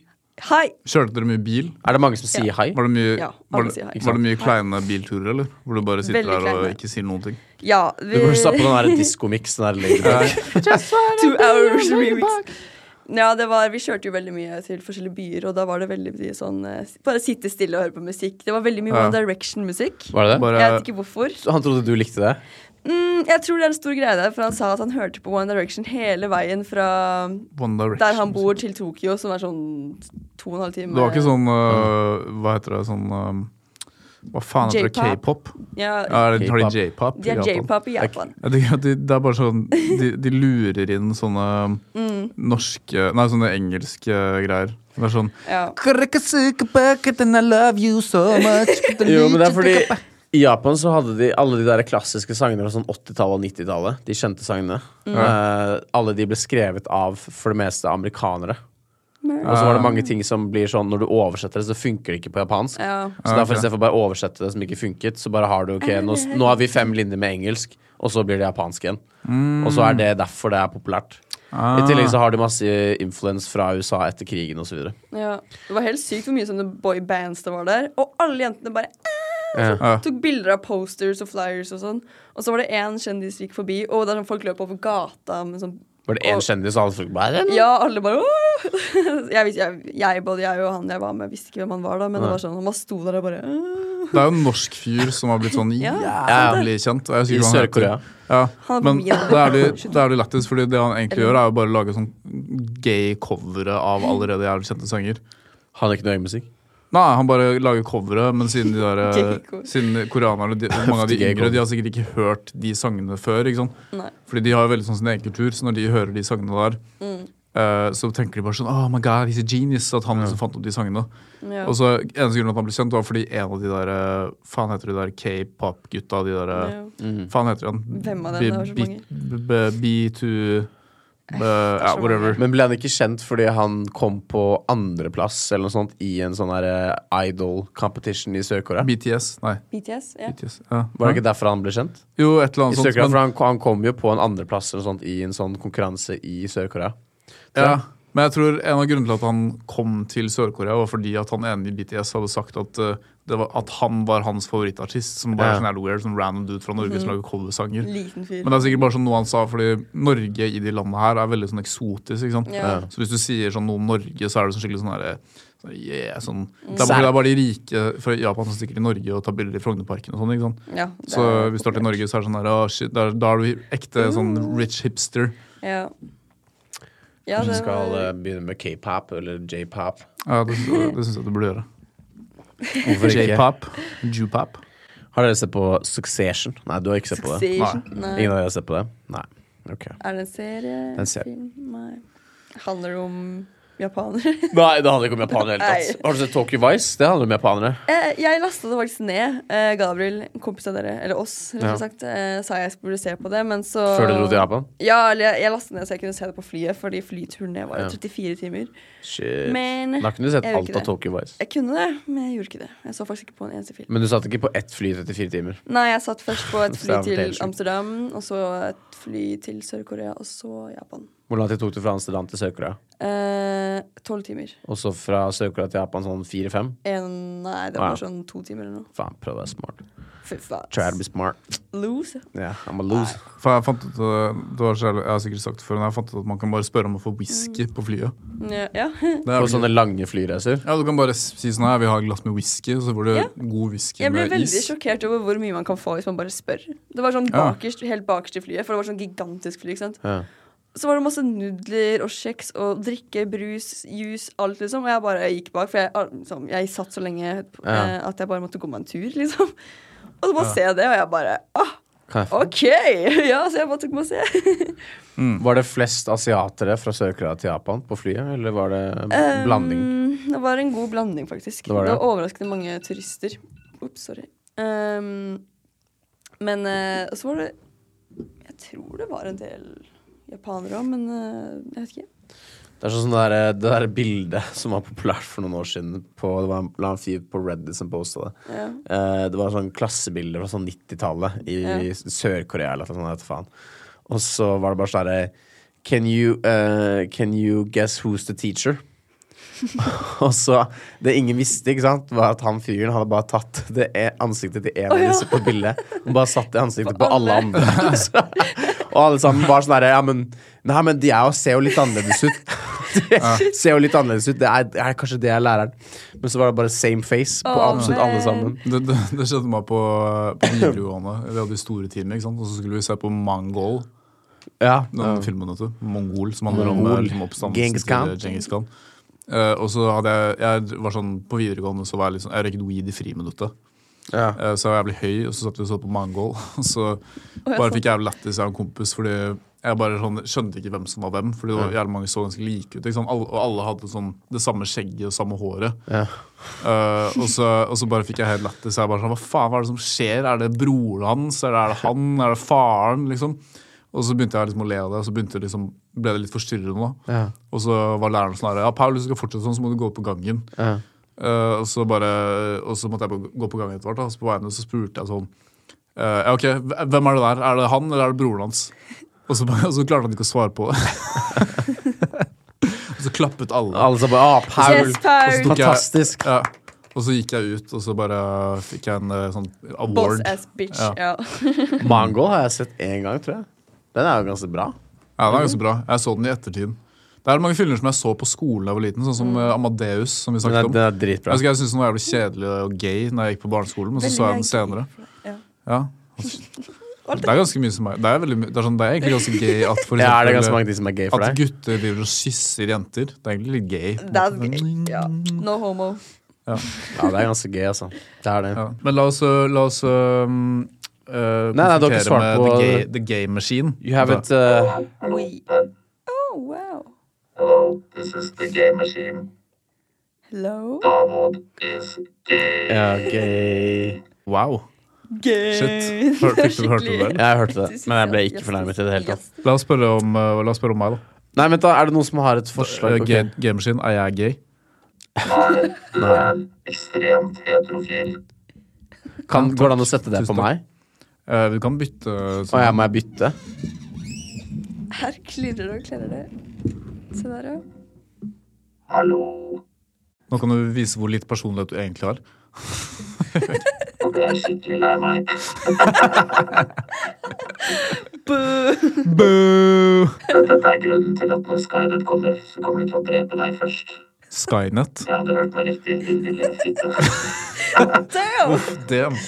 S2: Hei!
S4: Kjørte dere mye bil?
S3: Er det mange som sier hei?
S4: Var det mye,
S2: Ja,
S4: var
S2: alle
S4: det,
S2: sier hei.
S4: var det mye kleine bilturer, eller? Hvor du bare sitter
S2: Veldig
S4: der og
S2: kleine.
S4: ikke sier noen ting?
S2: Ja, vi
S3: Du burde stå på den der diskomix. Den der lady bug.
S2: Two hours remix. Ja, det var, Vi kjørte jo veldig mye til forskjellige byer, og da var det veldig mye sånn eh, Bare sitte stille og høre på musikk. Det var veldig mye
S4: Ja.
S2: One Direction-musikk.
S3: Var det det?
S4: Bare,
S2: Jeg vet ikke hvorfor.
S3: Han trodde du likte det?
S2: Mm, jeg tror det er en stor greie der, for han sa at han hørte på One Direction hele veien fra
S4: One Direction. liksom.
S2: der han bor, til Tokyo, som er sånn to og en halv time.
S4: Det var ikke sånn
S3: Mm.
S4: øh, Hva heter det? Sånn øh, Hva faen heter det?
S2: J-pop.
S4: K-pop?
S2: Ja,
S4: sånn- Ja, er det- har
S3: K-pop.
S4: de J-pop? i
S2: de er
S4: Japan?
S2: j-pop i Japan.
S4: Jeg tenker at de, det er bare sånn De, de lurer inn sånne
S2: Mm.
S4: norske Nei, sånne engelske greier. Det er sånn
S2: Ja. Mm-hmm.
S3: Jo, men det er fordi i Japan så hadde de alle de der klassiske sangene fra sånn 80-tallet og 90-tallet. De kjente sangene.
S2: Mm.
S3: Eh, alle de ble skrevet av for det meste amerikanere. Og så var det mange ting som blir sånn når du oversetter det, så funker det ikke på japansk.
S2: Ja.
S3: Så derfor istedenfor bare å oversette det som ikke funket, så bare har du ok, nå, nå har vi fem linjer med engelsk, og så blir det japansk igjen. Og så er det derfor det er populært. I tillegg så har de masse influens fra USA etter krigen osv.
S2: Ja. Det var helt sykt hvor mye sånne boybands det var der. Og alle jentene bare
S3: Ja.
S2: tok bilder av posters og flyers og sånn. Og så var det én kjendis som gikk forbi, og det er sånn folk løp over gata med sånn
S3: Var det én
S2: Og-
S3: kjendis, og alle folk bare
S2: Ja, alle bare «Åh!» jeg, visste- jeg, jeg, Både jeg og han jeg var med, visste ikke hvem han var da, men det var sånn, han bare sto der og bare «Åh!»
S4: Det er jo en norsk fyr som har blitt sånn
S2: Ja,
S4: jævlig kjent. og jeg
S3: I
S4: husker ikke hva han heter.
S3: Sør-Korea.
S4: Ja,
S2: Han er på
S4: men
S2: min alder.
S4: det er det- det er det lættis, fordi det han egentlig gjør, er jo bare å lage sånn gay covere av allerede jævlig kjente sanger.
S3: Han er ikke noe egen musikk.
S4: Nei, han bare lager covere, men siden de
S2: Gay
S4: der,
S2: cover.
S4: siden koreanerne, de, mange av de
S3: gay
S4: yngre, de har sikkert ikke hørt de sangene før. ikke sant?
S2: Nei.
S4: Fordi de har jo veldig sånn sin egen kultur, så når de hører de sangene der,
S2: Mm.
S4: eh, så tenker de bare sånn Oh my god, he's a genius, at han liksom fant opp de sangene.
S2: Ja.
S4: Og så Eneste grunnen til at han ble kjent, var fordi en av de der eh, Faen heter de der k-pop-gutta? De der eh,
S3: Mhm.
S2: Ja.
S4: Faen heter de han?
S2: Hvem av dem? Det var så
S4: B- B- B- B2 Eh, ja, whatever.
S3: Men ble han ikke kjent fordi han kom på andreplass eller noe sånt i en sånn her, eh, idol competition i Sør-Korea?
S4: BTS? Nei.
S2: BTS? Ja.
S4: BTS. Ja.
S3: Var det ikke derfor han ble kjent?
S4: Jo, et eller
S3: I
S4: annet
S3: Sør-Korea, for
S4: sånt. Men,
S3: han, han kom jo på en andreplass eller noe sånt i en sånn konkurranse i Sør-Korea.
S4: ja. men jeg tror en av grunnene til at han kom til Sør-Korea, var fordi at han ene i BTS hadde sagt at, eh, det var, at han var hans favorittartist. Som
S3: Ja.
S4: bare er sånn her weird, sånn random dude fra Norge
S2: Mhm.
S4: som lager coversanger.
S2: Liten fyr.
S4: Men det er sikkert bare sånn noe han sa, fordi Norge i de landene her er veldig sånn eksotisk. ikke sant?
S2: Ja.
S4: Så hvis du sier sånn noe om Norge, så er det sånn skikkelig sånn herre sånn, yeah, sånn. det, er bare, det er bare de rike fra Japan som stikker til Norge og tar bilder i Frognerparken og sånn. ikke sant?
S2: Ja, det
S4: Så
S2: er Mm.
S4: hvis du er til Norge, så er det sånn her, «Å, shit, da, da er du ekte sånn rich hipster.
S2: Ja. ja
S3: Kanskje
S2: det
S3: skal
S2: var,
S3: eh, begynne med k-pop eller j-pop.
S4: Ja, Det, det syns jeg du burde gjøre.
S3: Hvorfor ikke?
S4: J-pop. Jupap.
S3: Har dere sett på Succession? Nei, du har ikke sett på det.
S2: Succession? Nei.
S3: Ingen av dere har sett på det? Nei. Ok.
S2: Er det en serie?
S3: En serie.
S2: Film? Nei. Handler det om japanere?
S3: Nei, det handler ikke om japanere i det hele
S2: Nei.
S3: tatt. Har du sett Tokyo Vice? Det handler om japanere.
S2: Eh, jeg lasta det faktisk ned. Eh, Gabriel, en kompis av dere, eller oss, rett
S3: Ja.
S2: og slett, eh, sa jeg skulle se på det, men så
S3: Før du dro til Japan?
S2: Ja, eller jeg, jeg lastet ned så jeg kunne se det på flyet, fordi flyturen ned var
S3: Ja.
S2: jo 34 timer.
S3: Shit.
S2: Men
S3: Da kunne du sett
S2: jeg gjorde
S3: alt
S2: ikke
S3: av Tokyo Vice.
S2: Jeg kunne det, men jeg gjorde ikke det. Jeg så faktisk ikke på en eneste film.
S3: Men du satt ikke på ett fly i 34 timer.
S2: Nei, jeg satt først på et
S3: Så
S2: fly
S3: det er vel
S2: til
S3: helt sjukt.
S2: Amsterdam, og så et fly til Sør-Korea, og så Japan. Eh,
S3: Hvor langt tok du fra Amsterdam til Sør-Korea?
S2: Tolv timer.
S3: Og så fra Sør-Korea til Japan sånn fire-fem?
S2: En, nei, det
S3: Ja.
S2: var sånn to timer eller noe.
S3: Faen, prøv å være smart.
S2: Fy faen.
S3: Try to be smart.
S2: Lose.
S3: Yeah, I'm a loser.
S4: For jeg fant ut, eh, det var så jævlig- jeg har sikkert sagt det før, men jeg fant ut at man kan bare spørre om å få whisky på flyet.
S2: Ja. ja.
S4: Det er
S3: På
S4: jo
S3: sånne lange flyreiser.
S4: Ja, Du kan bare s- si sånn her, jeg vil ha et glass med whisky, så får du
S2: Ja.
S4: god whisky
S2: Jeg ble
S4: med
S2: veldig
S4: is.
S2: sjokkert over hvor mye man kan få hvis man bare spør. Det var sånn
S4: Ja.
S2: bakerst, helt bakerst i flyet, for det var sånn gigantisk fly. ikke sant?
S3: Ja.
S2: Så var det masse nudler og kjeks og drikke, brus, juice, alt, liksom. Og jeg bare gikk bak, for jeg, al- liksom, jeg satt så lenge eh,
S3: Ja.
S2: at jeg bare måtte gå meg en tur, liksom. Og så bare ser jeg det, og jeg bare ah,
S3: Kan jeg få-
S2: OK! Ja, så jeg bare tok meg og se.
S3: Var det flest asiatere fra Sør-Korea til Japan på flyet, eller var det en blanding?
S2: Mm, det var en god blanding, faktisk.
S3: Det
S2: Det var,
S3: var det.
S2: overraskende mange turister. Ops, sorry. Um, men eh, så var det Jeg tror det var en del japanere òg, men eh, jeg vet ikke.
S3: Det er sånn der, det der bildet som var populært for noen år siden. På, det var en, la en fyr på Reddit som posta det.
S2: Ja.
S3: Eh, det var sånn klassebilder fra sånn 90-tallet i
S2: Ja.
S3: Sør-Korea eller noe sånt. jeg vet faen. Og så var det bare sånn derre can, you, eh, can you guess who's the teacher? og så Det ingen visste, ikke sant, var at han fyren hadde bare tatt det e- ansiktet til en av
S2: Å, ja.
S3: disse på bildet. Og bare satt det ansiktet
S2: På
S3: på alle
S2: alle.
S3: andre. Så- og alle sammen var sånn herre Ja, men Nei, men de er jo, ser jo litt annerledes ut. De ser jo litt annerledes ut. Det er, det er kanskje det er læreren. Men så var det bare same face på
S2: Å,
S3: absolutt alle
S2: men.
S3: sammen.
S4: Det, det, det skjedde meg på, på videregående. Vi hadde store timer, ikke sant? og så skulle vi se på Mongol.
S3: Ja,
S4: Den filmen, vet du. Mongol, som handler om
S3: Mongol.
S4: eh, liksom, oppstandelsen
S3: Genghis Khan.
S4: til Genghis Khan. Eh, og så hadde jeg, jeg var sånn, På videregående så var jeg liksom, jeg røyket weed i friminuttet.
S3: Ja.
S4: Eh, så jeg var jævlig høy, og så satt vi og så på Mongol. Og så bare fikk jeg jævlig lættis av en kompis, fordi jeg bare sånn, skjønte ikke hvem som var hvem. Fordi det var jævlig mange så ganske like ut. Ikke sant? Alle, og alle hadde sånn, det samme skjegget og samme håret.
S3: Ja.
S4: Eh, og, så, og så bare fikk jeg helt lættis. Jeg bare sånn, Hva faen hva er det som skjer? Er det broren hans? Er det, er det han? Er det faren? Liksom. Og så begynte jeg liksom å le av det, og så begynte det liksom, ble det litt forstyrrende. da.
S3: Ja.
S4: Og så var læreren sånn her Ja, Paul, hvis du skal fortsette sånn, så må du gå opp på gangen. Eh, og, så bare, og så måtte jeg bare gå på gangen etter hvert. da. Så på veien ut så spurte jeg sånn eh, Ja, OK, hvem er det der? Er det han, eller er det broren hans? Og så, bare, og så klarte han ikke å svare på det. og så klappet alle.
S3: Alle som bare Å, Paul!
S2: Yes, Paul!
S4: tok jeg-
S3: Fantastisk.
S4: Ja. Og så gikk jeg ut, og så bare fikk jeg en eh, sånn
S2: Boss
S4: award.
S2: ass bitch.
S4: Ja.
S2: Ja.
S3: Mango har jeg sett én gang, tror jeg. Den er jo ganske bra.
S4: Ja, den er ganske bra. Jeg så den i ettertid. Det er mange filmer som jeg så på skolen da jeg var liten, sånn som eh, Amadeus. som vi
S3: Den er,
S4: snakket om.
S3: den er dritbra.
S4: Jeg husker Altså, jeg syntes den var jævlig kjedelig og gay Når jeg gikk på barneskolen, men så så jeg den senere.
S2: Ja.
S4: Ja. Det er ganske mye som er Det er, veldig, mye- det er, sånn, det er egentlig ganske gay at for
S3: Ja, er det ganske
S4: eksempel,
S3: mange ting som er gay for
S4: at
S3: deg?
S4: gutter driver og kysser jenter. Det er egentlig litt gay. på en
S2: Det er
S4: måte.
S2: gøy. Ja. No homo.
S3: Ja, det er ganske gay, altså. Det er det.
S4: Ja. Men la oss, øh, la oss um, øh,
S3: Nei, nei, du har ikke
S4: konfrontere
S3: svart
S4: med
S3: på-
S4: the gay, the gay machine. Altså,
S3: You have it uh,
S2: We. Oh, wow.
S7: Hello, this is the game machine.
S2: Hello.
S7: Davod is gay.
S3: ja, gay
S4: Wow.
S2: Gay.
S4: Shit. Hør- fikk du- hørte du det?
S3: Jeg hørte det, men jeg ble ikke fornærmet i det hele tatt.
S4: La oss spørre om, øh, la oss spørre om meg, da.
S3: Nei, vent da, er det noen som har et forslag?
S4: Eh,
S3: Ok.
S4: ga- Gamaskin, er jeg gay?
S7: Nei, du er ekstremt heterofil.
S3: Kan, går det an å sette det
S4: Tusen
S3: på
S4: takk.
S3: meg?
S4: Eh, vi kan bytte sånn.
S3: Og jeg må jeg bytte?
S2: Her klirrer det og klirrer det. Se der, ja.
S7: Hallo.
S4: Nå kan du vise hvor litt personlighet du egentlig har.
S7: Og det er jeg skikkelig lei meg.
S2: Boo!
S7: Dette er grunnen til at når Skynet kommer, så kommer de til å drepe deg først.
S4: Skynet.
S7: Jeg hadde hørt meg riktig. Din lille fitte.
S2: Damn!
S4: Damn.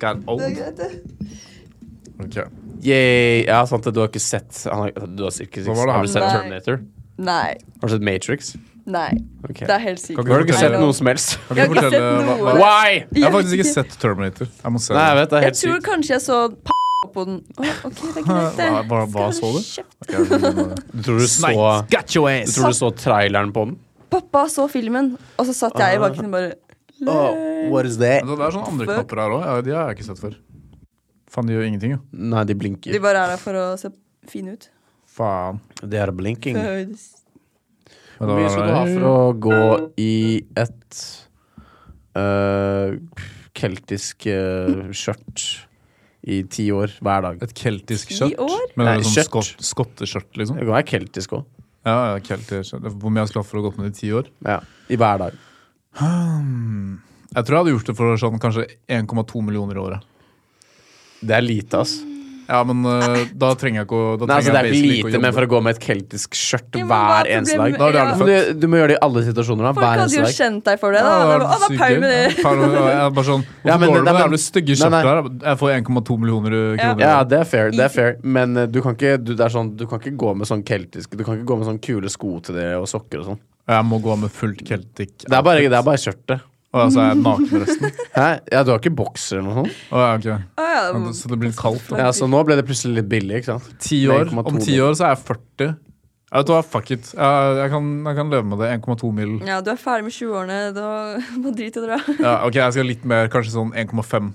S4: God
S3: Oh,
S4: old.
S2: Det er greit, det.
S4: Ok.
S3: Yay. Ja, sant det. Du har ikke sett han har, Du har sikkert
S4: Hva var det
S3: har du
S4: her?
S3: sett
S2: Nei.
S3: Terminator?
S2: Nei.
S3: Har du sett Matrix?
S2: Nei.
S3: Ok.
S2: Det er helt sykt.
S4: Kan
S3: Har du ikke
S4: fortelle-
S3: sett noe som helst?
S4: Kan
S2: Jeg har
S4: ikke du
S2: ikke
S4: fortelle
S2: sett
S4: hva,
S2: noe.
S4: hva,
S3: Why?
S4: Jeg har faktisk ikke sett Terminator. Jeg må se
S3: Nei, jeg
S4: det.
S3: vet, det er
S2: Jeg
S3: helt
S2: tror
S3: sykt.
S2: kanskje jeg så p*** på den. Å, ok, det er greit, det.
S4: Hva- hva- hva
S2: Skal
S4: så du?
S2: kjeft.
S3: Du tror du så,
S4: Snipes, got your
S3: du
S4: ass!
S3: tror du så traileren på den?
S2: Pappa så filmen, og så satt
S4: Ah.
S2: jeg i baken og bare
S3: what is that?
S4: Men Det er sånne andre
S2: Fuck.
S4: knapper her òg. De har jeg ikke sett før. Faen, de gjør ingenting, jo.
S3: Nei, de
S2: De
S3: blinker.
S2: bare er der for å se fine ut.
S4: Faen.
S3: De er blinking.
S2: Nei,
S3: Hvor
S4: Men da-
S3: mye skal du ha for å gå i et øh, keltisk øh, skjørt i ti år hver dag?
S4: Et keltisk
S2: Ti
S4: skjørt?
S2: år?
S4: Men
S3: Nei,
S4: det er
S3: skjørt.
S4: sånn skott, skotteskjørt, liksom?
S3: Det kan være keltisk òg.
S4: Ja, ja, keltisk skjørt. Hvor mye jeg skulle ha for å gått med det i ti år?
S3: Ja. I hver dag.
S4: Jeg tror jeg hadde gjort det for sånn kanskje 1,2 millioner i året.
S3: Det er lite, ass.
S4: Ja, men eh, da trenger jeg ikke å da
S3: Nei, altså, det er
S4: trenger jeg
S3: ikke
S4: basically ikke
S3: lite,
S4: å
S3: men
S4: jobbe.
S3: for å gå med et keltisk skjørt
S2: Ja, men hva er
S3: hver eneste dag
S2: problemet?
S4: Da er det
S2: Ja.
S4: alle
S3: Men
S4: født.
S3: du, du må gjøre det i alle situasjoner. Da.
S2: Folk
S3: Hver
S2: hadde jo
S3: eneste dag.
S2: kjent deg for det. da.
S4: Ja,
S2: Det var, Å, det er
S4: sykt
S2: Paul
S4: gøy.
S2: med det.
S4: Paul med det. Jeg er bare sånn
S3: Ja, men
S4: Hvorfor
S3: det-
S4: går du med det
S3: nei, men-
S4: jævlig stygge
S3: nei, nei.
S4: skjørtet her? Jeg får 1,2 millioner
S2: Ja.
S4: kroner.
S3: Ja, det er fair. Det er fair. Men eh, du kan ikke, du, det er sånn, du kan ikke gå med sånn keltisk Du kan ikke gå med sånn kule sko til det og sokker og sånn.
S4: Jeg må gå med fullt keltic.
S3: Det er bare, det er bare skjørtet.
S4: Og altså, jeg er naken resten.
S3: Hæ? Ja, du har ikke bokser eller noe sånt?
S4: Å, ja, ok.
S2: Å, Ah, ja, det
S4: Men
S2: var-
S4: Så det blir kaldt. da.
S3: Ja, Så nå ble det plutselig litt billig, ikke sant?
S4: Ti år,
S3: 1,2
S4: om ti år så er jeg 40. Jeg vet du hva, fuck it. Jeg, jeg, kan, jeg kan leve med det. 1,2 mil.
S2: Ja, du er ferdig med 20-årene. Da må drit i å dra.
S4: Ja, ok, jeg skal litt mer, kanskje sånn 1,5.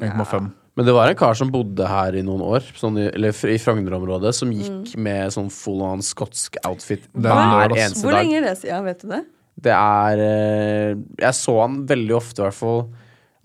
S4: 1,5.
S3: Men det var en kar som bodde her i noen år, sånn i, eller fr- i Frogner-området, som
S2: Mm.
S3: gikk med sånn full on skotsk outfit
S4: er
S3: hver
S4: lørdag, ass.
S3: eneste
S2: Hvor
S3: dag.
S2: lenge er det siden? Vet du det?
S3: Det er eh, Jeg så han veldig ofte, i hvert fall.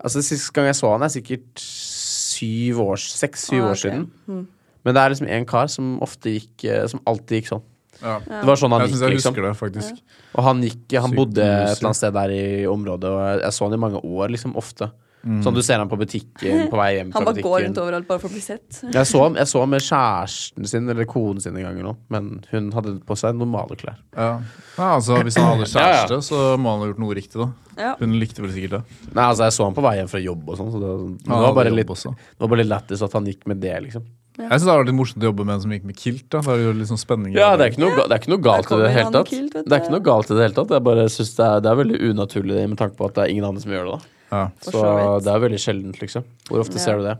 S3: Altså, Sist gang jeg så han, er sikkert syv år, seks-syv
S2: Ah,
S3: år
S2: ok.
S3: siden. Men det er liksom en kar som ofte gikk eh, Som alltid gikk sånn.
S4: Ja.
S3: Det var sånn han
S4: Jeg syns
S3: gikk,
S4: jeg
S3: liksom.
S4: husker det, faktisk.
S3: Og han gikk, han
S4: Sykt
S3: bodde et
S4: loser.
S3: eller annet sted der i området, og jeg, jeg så han i mange år, liksom. Ofte.
S4: Mm.
S3: Sånn du ser han på butikken, på vei hjem
S2: Han
S3: fra
S2: bare går
S3: butikken.
S2: rundt overalt bare for å bli sett.
S3: Jeg så, ham- jeg så ham med kjæresten sin eller konen sin en gang, eller noe, men hun hadde på seg normale klær.
S4: Ja. Ja, altså, hvis han hadde
S3: Ja, ja.
S4: kjæreste, så må han ha gjort noe riktig, da.
S2: Ja.
S4: Hun likte vel sikkert det.
S3: Nei, altså, jeg så ham på vei hjem fra jobb og sånn, så det, var sånn- men
S4: Han
S3: det var
S4: hadde
S3: bare
S4: jobb
S3: litt,
S4: også.
S3: det var bare litt lættis at han gikk med det, liksom.
S4: Jeg syns det var litt morsomt å jobbe med en som gikk med kilt. da Det er jo litt sånn spenning i
S3: Ja, det er ikke noe, ga- det er ikke noe galt i
S2: kommer
S3: det hele
S2: han
S3: tatt.
S2: kult, vet
S3: Det er
S2: du.
S3: ikke noe galt i det hele tatt. Jeg bare synes det er, det er veldig unaturlig med tanke på at det er ingen andre som gjør det, da.
S4: Ja,
S2: For
S3: Så
S2: så vidt.
S3: det er veldig sjeldent, liksom. Hvor ofte
S2: Ja.
S3: ser du det?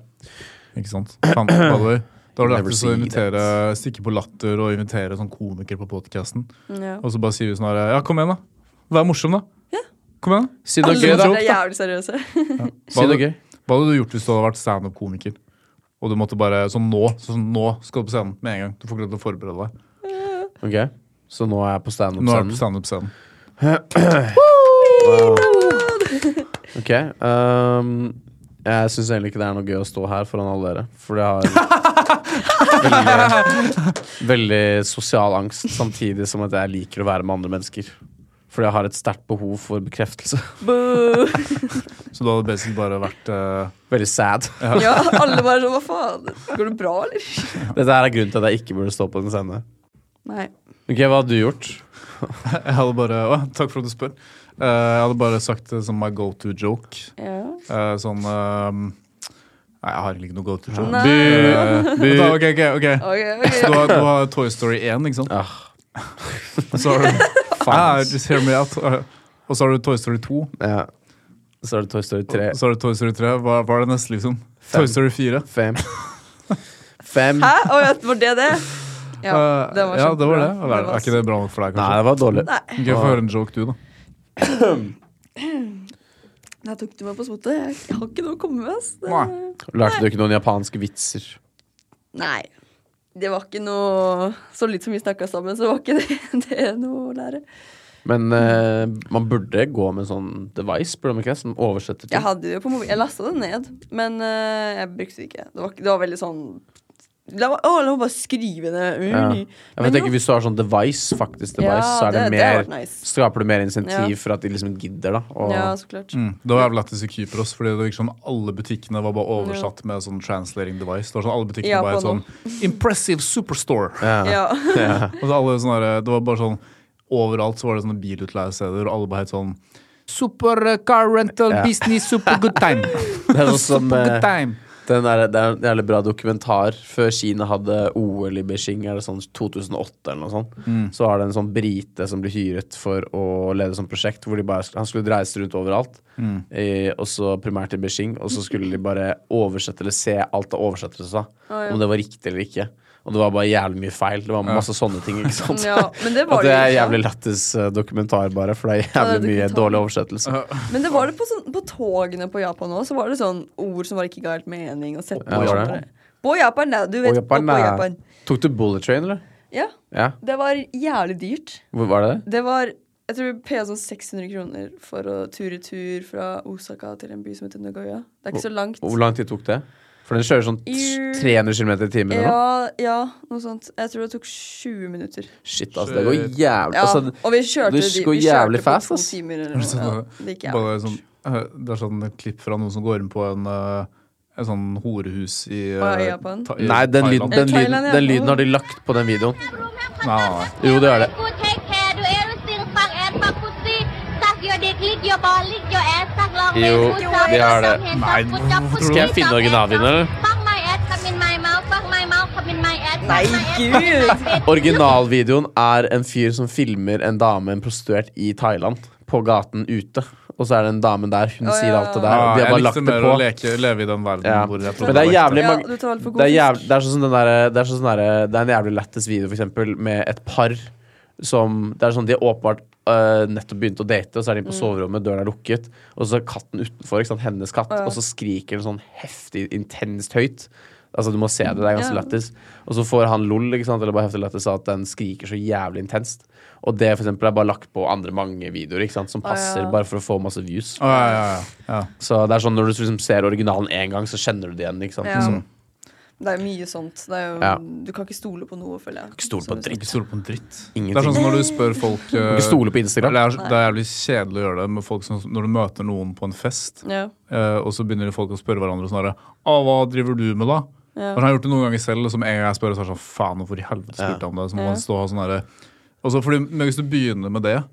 S4: ikke sant? Faen, by the way. Da var det
S3: Never
S4: lættis å
S3: see
S4: invitere stikke på latter og invitere sånn komiker på podkasten.
S2: Mm, Ja.
S4: Og så bare sier vi sånn her Ja, kom igjen, da. Vær morsom, da. Kom igjen. da.
S3: Si noe
S2: Alle sånn,
S3: gøy, da.
S2: er jævlig seriøse.
S3: Si noe gøy.
S4: Hva hadde du gjort hvis du hadde vært standup-komiker? Og du måtte bare sånn nå, sånn nå skal du på scenen med en gang. Du får ikke lov til å forberede deg.
S3: Ok, så nå er jeg på
S4: Nå er du på
S3: standup-scenen.
S4: standup-scenen.
S3: Ok, ehm, jeg syns egentlig ikke det er noe gøy å stå her foran alle dere, for jeg har veldig, veldig sosial angst, samtidig som at jeg liker å være med andre mennesker. Fordi jeg har et sterkt behov for bekreftelse.
S2: Boo.
S4: Så du hadde basically bare vært eh,
S3: Veldig sad.
S2: Ja, alle bare sånn Hva faen? Går det bra, eller?
S3: Dette her er grunnen til at jeg ikke burde stå på en scene.
S2: Nei.
S3: Ok, Hva hadde du gjort?
S4: Jeg hadde bare Å, takk for at du spør. Eh, jeg hadde bare sagt det som my go to joke.
S2: Ja.
S4: Eh, sånn eh, Nei, jeg har egentlig ikke noe go to joke.
S2: Nei.
S4: Eh, vent da, ok, ok, ok.
S2: Ok,
S4: Så du
S2: ok.
S4: har, du har Toy Story 1, ikke sant?
S3: Ah,
S4: Så har du, ah,
S3: faen.
S4: just hear me out. Eh, Og så har du Toy Story 2.
S3: Ja. Så er det Toy Story 3.
S4: Og så har du Toy Story 3. Hva, hva er det neste, liksom?
S3: Fem.
S4: Toy Story 4.
S3: Fem. Fem.
S2: Hæ? Å ja, var det det? Ja,
S4: Eh,
S2: det var
S4: ja, det var det.
S2: kjempebra.
S4: Eller, er ikke det bra nok for deg,
S3: Nei,
S4: kanskje?
S3: det var dårlig.
S2: Nei,
S4: Gøy å få høre en joke, du, da.
S2: der tok du meg på spotet. Jeg jeg har ikke noe å komme med. ass. Det-
S4: Nei.
S3: Lærte du ikke noen japanske vitser?
S2: Nei. det var ikke noe Så litt som vi snakka sammen, så var ikke det, det noe å lære.
S3: Men eh, man burde gå med en sånn device, burde man ikke det? Som oversetter ting.
S2: Jeg hadde det jo på mobil. Jeg lasta det ned, men eh, jeg brukte det ikke. Det var, ikke- det var veldig sånn La meg, å, la meg bare skrive det. Uh.
S3: Ja. Ja, for
S2: Men
S3: jeg tenker
S2: nå-
S3: Hvis du har sånn device, faktisk device,
S2: Ja,
S3: så er det,
S2: det- det
S3: mer
S2: hadde vært nice.
S3: skaper du mer insentiv
S2: Ja.
S3: for at de liksom gidder, da. Og,
S2: ja, så klart.
S4: Mm. Det var jævlig lættis i Kypros, fordi det virket som alle butikkene var bare oversatt med sånn translating device. Det var sånn alle butikkene
S2: Ja,
S4: bare
S2: på
S4: het sånn Impressive Superstore.
S3: ja.
S2: Ja.
S4: Og så alle sånne, der- det var bare sånn Overalt så var det sånne bilutleiesteder, og alle bare het sånn Super car rental
S3: Ja.
S4: business, super good time.
S3: Det er sånn som
S4: Super
S3: eh,
S4: good time.
S3: den der, Det er en jævlig bra dokumentar. Før Kina hadde OL i Beijing, eller sånn 2008 eller noe sånt, så var det en sånn brite som ble hyret for å lede sånn prosjekt hvor de bare, han skulle reise rundt overalt, eh, og så primært i Beijing, og så skulle de bare oversette eller se alt av oversettere sa,
S2: ja.
S3: om det var riktig eller ikke. Og det var bare jævlig mye feil. Det var masse sånne ting, ikke sant.
S2: Ja, men det var
S3: Og
S2: det
S3: det
S2: jo
S3: er
S2: ikke.
S3: jævlig lættis eh, dokumentar, bare, for det
S2: Ja,
S3: er
S2: det er
S3: jævlig mye
S2: dokumentar.
S3: dårlig oversettelse.
S2: Men det var det på, sånn, på togene på Japan òg, så var det sånn ord som var ikke ga helt mening. Og sett
S3: Ja,
S2: på,
S3: var
S2: Japan. på Japan, ja. Du vet,
S3: Og Japan,
S2: på
S3: eh,
S2: Japan.
S3: Tok du bullet train, eller?
S2: Ja.
S3: Ja.
S2: Det var jævlig dyrt.
S3: Hvor var det det?
S2: Det var jeg tror vi paya sånn 600 kroner for å tur-retur fra Osaka til en by som heter Nagoya. Det er ikke så langt.
S3: Hvor lang tid tok det? For den kjører sånn t-
S2: I-
S3: 300 km i timen eller noe?
S2: Ja, ja, noe sånt. Jeg tror det tok 20 minutter.
S3: Shit, altså, det går jævlig
S2: Ja,
S3: altså,
S2: og vi kjørte,
S3: det
S2: de-
S3: går
S2: vi
S3: jævlig
S2: kjørte
S3: fast,
S2: på to
S3: ass.
S2: timer eller noe. Ja, det gikk
S4: Bare
S2: jævlig
S4: sånn,
S2: fort.
S4: eh, det er sånn et klipp fra noen som går inn på en, eh, en sånn horehus i,
S2: Å, i
S4: eh,
S2: Japan?
S4: Ta- i
S3: Nei, den lyden,
S4: Thailand.
S3: den, lyden,
S2: Thailand, ja.
S3: den lyden har de lagt på den videoen.
S4: Nei, nei, nei.
S3: Jo, det er det.
S8: Good take care, do everything, fuck ass, fuck pussy, suck your dick, lick your ball, lick your ass, suck long
S3: Jo,
S8: dick, good time,
S3: det er det.
S8: suck hands,
S4: Nei,
S8: suck foot, suck pussy,
S3: Skal jeg
S8: suck
S3: finne
S8: ass,
S3: originalvideoen, eller?
S8: Fuck my ass, come in my mouth, fuck my mouth, come in my ass,
S2: Nei,
S8: fuck my ass, come in my
S2: gud!
S8: bitch.
S3: Originalvideoen er en fyr som filmer en dame, en prostituert, i Thailand. På gaten ute. Og så er det en dame der. Hun
S2: Å, ja,
S3: sier
S2: ja,
S3: alt
S2: ja.
S3: det der. og de har
S4: jeg
S3: bare lagt
S4: likte
S3: det
S4: mer
S3: på.
S4: å leke, leve i den verden
S3: Ja.
S4: hvor jeg
S3: Men det er jævlig
S2: Ja,
S3: mange
S2: du tar alt for god
S3: det, er
S2: fisk.
S3: jævlig, det er sånn som den derre- det er sånn som den derre- det er en jævlig lættis video, for eksempel, med et par som Det er sånn de har åpenbart øh, nettopp begynt å date, og så er de
S2: Mm.
S3: inne på soverommet, døren er lukket, og så er katten utenfor, ikke sant, hennes katt, og så skriker den sånn heftig, intenst høyt. Altså Du må se det, det er ganske
S2: Ja.
S3: lættis. Og så får han lol, ikke sant, eller bare heftig lættis av at den skriker så jævlig intenst. Og det for eksempel, er bare lagt på andre mange videoer ikke sant, som passer,
S2: ja.
S3: bare for å få masse views.
S4: Å, ja, ja, ja. ja.
S3: Så det er sånn Når du liksom ser originalen én gang, så kjenner du det igjen. ikke sant?
S2: Ja.
S4: liksom.
S3: Så-
S2: Det er jo mye sånt. Det er jo,
S3: Ja.
S2: Du kan ikke stole på noe, føler jeg.
S3: Ikke stol på
S2: Som du
S3: dritt.
S4: Ikke stole på en dritt. Det er
S3: Ingenting.
S4: sånn som når du spør folk eh,
S3: Ikke stole på Instagram.
S4: Det er, det er jævlig kjedelig å gjøre det med folk som, når du møter noen på en fest,
S2: sa. Ja.
S4: eh, og så begynner folk å spørre hverandre sånn herre Å, hva driver du med, da?
S2: Ja.
S4: Og så har jeg gjort det noen ganger selv, som en gang jeg spør, så er det sånn Faen, hvorfor i helvete spurte jeg om det? Så må man stå og ha sånn herre Og så fordi men hvis du begynner med det,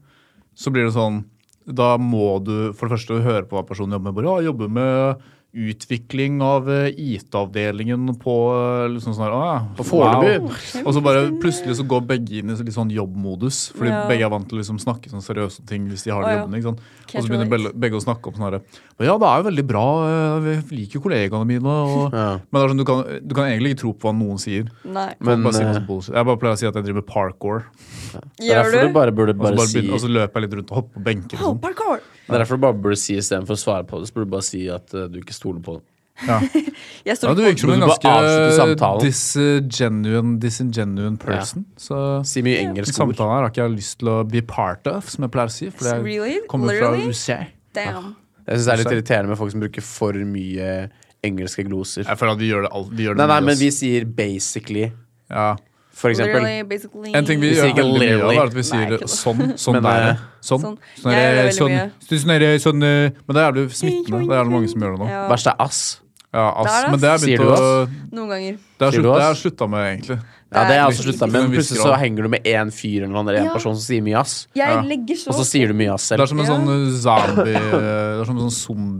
S4: så blir det sånn Da må du for det første høre på hva personen jobber med. Bare, ja, jobber med utvikling av eh, IT-avdelingen på eh, liksom sånn her, «Å, ja,
S3: Foreløpig.
S2: Mm,
S4: og så bare plutselig så går begge inn i litt sånn jobbmodus. Fordi
S2: Ja.
S4: begge er vant til å liksom snakke sånn seriøse ting hvis de
S2: Å,
S4: har det
S2: ja.
S4: jobbende. ikke sant? Og
S2: Can't
S4: så begynner
S2: relate.
S4: begge, begge å snakke om sånn herre Ja, det er jo veldig bra. eh, Jeg liker kollegaene mine. Og,
S3: Ja.
S4: Men det er sånn, du kan, du kan egentlig ikke tro på hva noen sier.
S2: Nei.
S3: Men
S4: Bare si
S3: eh,
S4: masse bullshit. Jeg bare pleier å si at jeg driver med parkour.
S3: det er
S2: Gjør
S3: derfor du
S2: du?
S3: bare burde
S4: Og så,
S3: bare
S4: bare
S3: si
S4: begynner, og så løper jeg litt rundt og hopper på benker.
S2: Oh,
S4: Og sånn.
S2: parkour!
S3: Det er derfor du bare burde si istedenfor å svare på det, så burde du bare si at eh, du ikke stoler på det.
S2: Jeg
S4: Ja,
S2: står
S4: du
S2: ikke
S4: virker som en
S3: Du bare avslutter
S4: ganske
S3: samtalen.
S4: disgenuine, disingenuine person. Så
S3: Si mye engelsk ord.
S4: Samtalen her har ikke jeg lyst til å be part of, som jeg pleier å si. For jeg
S2: Really?
S4: kommer
S2: Literally?
S4: fra USA.
S2: på Damn.
S3: Jeg syns det er litt irriterende med folk som bruker for mye engelske gloser.
S4: Jeg føler at vi gjør det alt. Vi gjør det
S3: Nei, nei,
S4: mye,
S3: men
S4: ass.
S3: vi sier basically,
S4: ja.
S3: for eksempel.
S2: Literally, basically.
S4: En ting vi,
S3: Vi sier
S4: gjør
S3: ikke
S4: veldig mye av,
S3: literally.
S4: er at vi sier
S2: Nei, ikke
S4: sånn. Sånn
S3: Men,
S4: der.
S3: eh,
S4: Sånn.
S2: sånn. Jeg
S4: Sånn der,
S2: gjør det veldig
S4: sånn,
S2: mye.
S4: sånn, der, sånn eh, Men det er jævlig smittende. Det er det mange som gjør det nå.
S2: Ja.
S3: Verst er ass.
S4: Ja, ass.
S2: Der, ass.
S4: Men det har jeg
S3: Sier
S4: begynt
S3: du
S4: å
S2: Noen ganger.
S4: Det har
S3: Sier du
S4: slutta- det har
S3: ass?
S4: jeg slutta med, egentlig.
S3: Ja, det er jeg også
S2: Nei.
S3: slutta med. Men
S4: Til en viss
S3: plutselig så
S4: grad.
S3: henger du med én fyr eller noen, eller en
S2: Ja.
S3: person som sier mye ass.
S2: Jeg
S4: Ja.
S2: legger så
S3: Og så sier du mye ass
S4: Det er
S3: selv.
S4: som en
S2: Ja.
S4: sånn eh, zombie eh, Det er som en sånn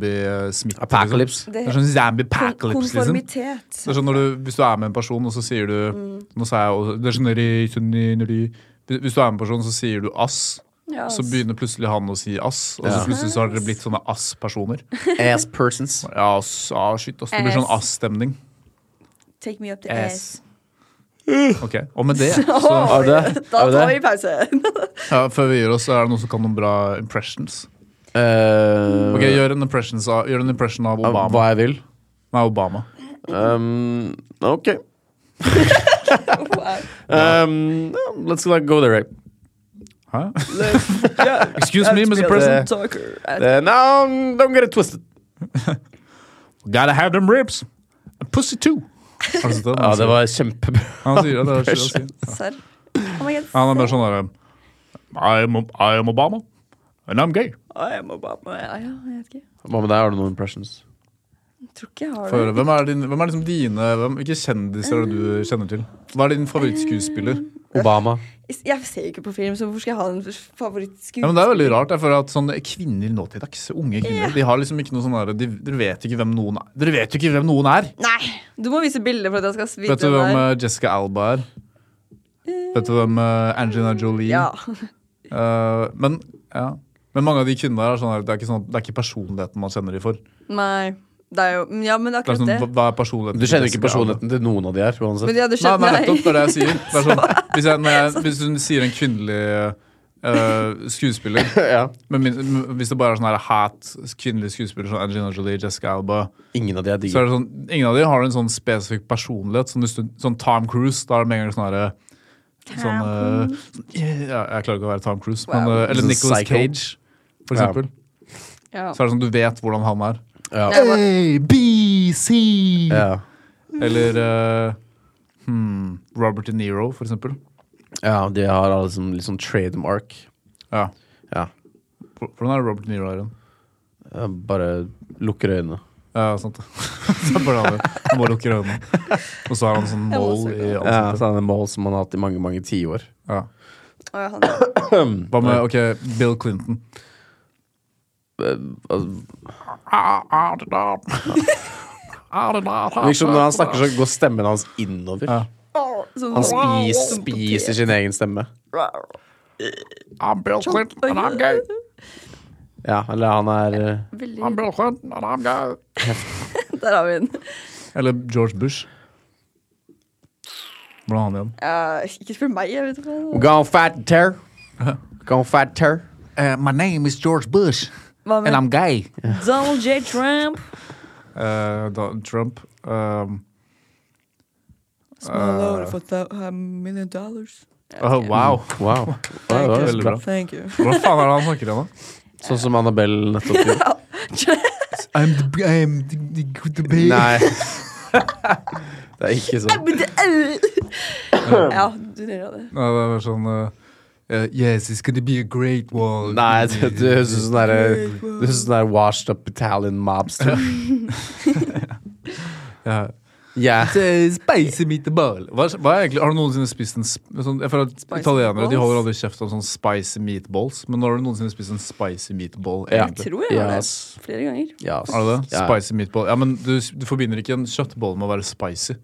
S4: zombiesmitte.
S3: Apocalypse.
S4: Liksom. Det er sånn zombie-pacalypse, liksom.
S2: konformitet.
S4: Det er sånn når du, Hvis du er med en person, og så sier du
S2: Mm.
S4: Nå sa jeg også, det er sånn når de- sånn de- når de- Hvis du er med en person, så sier du ass.
S2: Ja,
S4: Så begynner plutselig han å si ass, og så
S3: Ja.
S4: plutselig så har dere blitt sånne ass-personer.
S3: Ass persons.
S4: Ja, ass, ah, shit, ass. Det blir sånn
S2: Ass.
S4: ass-stemning.
S2: Take me up the ass.
S4: Ass. Ok, Og med det, så,
S3: Har du det?
S2: Da
S3: Har du
S2: tar
S3: det?
S2: vi pause.
S4: ja, før vi gir oss, så er det noen som kan noen bra impressions.
S3: Eh,
S4: Ok, Gjør en, impressions av, gjør en impression av
S3: av
S4: Obama.
S3: Hva jeg vil.
S4: Nei, Obama.
S3: Um, ok.
S2: Wow.
S3: Um, let's like, go there, right?
S4: Hæ?
S3: yeah.
S4: Excuse me, Mr. President.
S2: Talker.
S3: Uh, no, mm, don't get it twisted.
S4: Gotta have them ribs. And pussy too. Har du sett det?
S3: Ja, det var kjempebra.
S4: Han sier det. det er skitt å si.
S2: Serr. Oh my god.
S4: Han er bare sånn der I am, I am Obama, and I'm gay.
S2: I am Obama. Ja, ja, jeg vet ikke.
S3: Hva med deg, har du noen impressions?
S2: Jeg tror ikke jeg
S4: Få
S2: har
S4: høre,
S2: det.
S4: Hvem er, din, hvem er liksom dine hvem, Hvilke kjendiser er det du kjenner til? Hva er din favorittskuespiller?
S3: Obama.
S2: Jeg ser jo ikke på film, så hvorfor skal jeg ha en favorittskuespiller?
S4: Ja, men det er veldig rart. Jeg føler at sånne kvinner nå til dags, unge kvinner, de har liksom ikke noe sånn der, de, Dere vet jo ikke hvem noen er. Dere vet jo ikke hvem noen er!
S2: Nei! Du må vise bilder for at jeg skal vite
S4: Vet du
S2: hvem
S4: hvem
S2: det er.
S4: eh, Jessica Alba er? Vet du hvem eh, Angelina Jolie
S2: Ja.
S4: Eh, men, ja. men mange av de kvinnene her er sånn her, det er ikke, sånn, det er ikke personligheten man kjenner de for. Det
S2: Nei. Det er jo Ja, men
S4: er
S2: akkurat
S4: sånn,
S2: det.
S4: hva- hva er personligheten
S3: Du
S4: til
S3: kjenner jo ikke
S4: Jessica Alba?
S3: personligheten til noen av de her,
S2: Men
S3: uansett.
S2: de hadde
S4: Nei,
S2: skjønt
S4: nei, nettopp, det er det jeg sier. Det er sånn, hvis, jeg, når jeg, hvis hun sier en kvinnelig eh, skuespiller
S3: Ja.
S4: men min, men hvis det bare er sånn her hat kvinnelige skuespillere som Angelina Jolie, Jessica Alba
S3: Ingen av de er
S4: så
S3: digge.
S4: er det sånn, Ingen av dem har en sånn spesifikk personlighet. Sånn, hvis du- sånn Tom Cruise. Da er det med en gang sånn herre sånn, eh, sånn, ja, Jeg klarer ikke å være Tom Cruise, men,
S2: Wow.
S4: eh, eller
S3: Sånn
S4: Nicholas
S3: psycho.
S4: Cage, for
S3: Ja.
S4: eksempel.
S2: Ja.
S4: Så er det sånn, du vet hvordan han er.
S3: Ja.
S2: Jeg bare-
S4: A, B, C!
S3: Ja.
S4: Eller eh, hmm, Robert De Niro, for eksempel.
S3: ja, de har alle sånn, litt sånn trademark.
S4: Ja.
S3: Ja.
S4: Hvordan er det Robert De Niro er igjen?
S3: Eh, Bare lukker øynene.
S4: Ja, sant det. Så bare han- Han bare lukker øynene. Og så har han sånn
S2: Jeg må
S4: mål
S2: også
S4: i
S2: gjøre
S3: Ja,
S4: ansiktet.
S3: så er det en mål som man har hatt i mange, mange tiår.
S4: Ja.
S2: Å, ja, han, ja.
S4: Hva med ok, Bill Clinton?
S3: Liksom når han snakker, så går stemmen hans innover.
S4: Ja.
S2: Å, så-
S3: Han spis, spiser sin egen stemme.
S4: I'm Bill Clinton, and I'm gay.
S3: Ja, eller han er eh,
S4: I'm
S2: Veldig.
S4: Bill Clinton, and I'm gay.
S2: Der har vi den.
S4: Eller George Bush. Hvordan er han igjen?
S2: Ja, ikke spør meg, jeg vet ikke hva
S3: Gone fat and tear. Gone fat and tear.
S4: Eh, my name is George Bush,
S2: Hva med
S4: gay.
S2: Donald J. Trump?
S4: Eh, da, Trump um, eh,
S2: Smaller for a million dollars.
S4: oh, Wow.
S3: Wow. Ja, det var veldig bra.
S2: Thank you.
S4: Hva faen er det han snakker om, da?
S3: Sånn som Annabelle nettopp gjorde.
S4: I'm the, I'm the, the, the baby.
S3: Nei. Det er ikke sånn.
S2: ja, du nærmer det.
S4: Nei, det var sånn uh, uh, Yes, it's gonna be a great wall.
S3: Nei, du du høres ut som sånn derre- du høres ut som sånn der washed up Italian mobster.
S4: Ja.
S3: Yeah.
S4: Spicy meatball. Hva, er- hva er egentlig, har du noensinne spist en sp- sånn, Jeg føler at
S2: Spicy
S4: Italienere de
S2: meatballs?
S4: holder aldri kjeft om sånn spicy meatballs, men har du noensinne spist en spicy meatball?
S3: Ja.
S4: egentlig?
S2: Tror jeg har
S3: Yes.
S2: det flere ganger.
S3: Ja, ass.
S4: Er det det?
S3: Ja.
S4: Spicy meatball. Ja, men du, du forbinder ikke en kjøttbolle med å være spicy.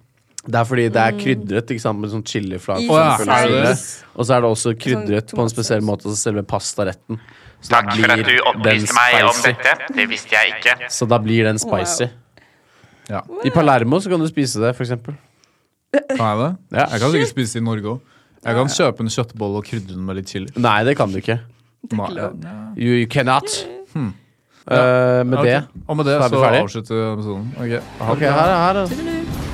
S3: Det er fordi det er krydret ikke sant, med sånn chiliflak.
S2: I
S3: for
S4: ja,
S3: eksempel,
S4: er det
S3: og
S4: det?
S3: så videre. Og så er det også krydret på en
S2: tomatsaus.
S3: spesiell måte, altså selve pastaretten. Så da
S5: Takk for at du
S3: blir den
S5: opplyste meg om
S3: spicy.
S5: dette. Det visste jeg ikke.
S3: Så da blir den spicy.
S4: Ja.
S3: I Palermo så kan du spise det, for eksempel.
S4: Kan jeg det?
S3: Ja.
S4: Jeg kan sikkert spise det i Norge òg. Jeg kan kjøpe en kjøttbolle og krydre den med litt chili.
S3: Nei, det kan du ikke.
S4: Nei,
S2: ikke lov.
S4: ja.
S3: You, you cannot. Eh, med
S4: Ok.
S3: det
S4: Og med det
S3: så er vi
S4: så
S3: ferdig.
S4: avslutter episoden. Ok, ha det.
S3: Ok, her, er- her. er-
S2: Tudelutt.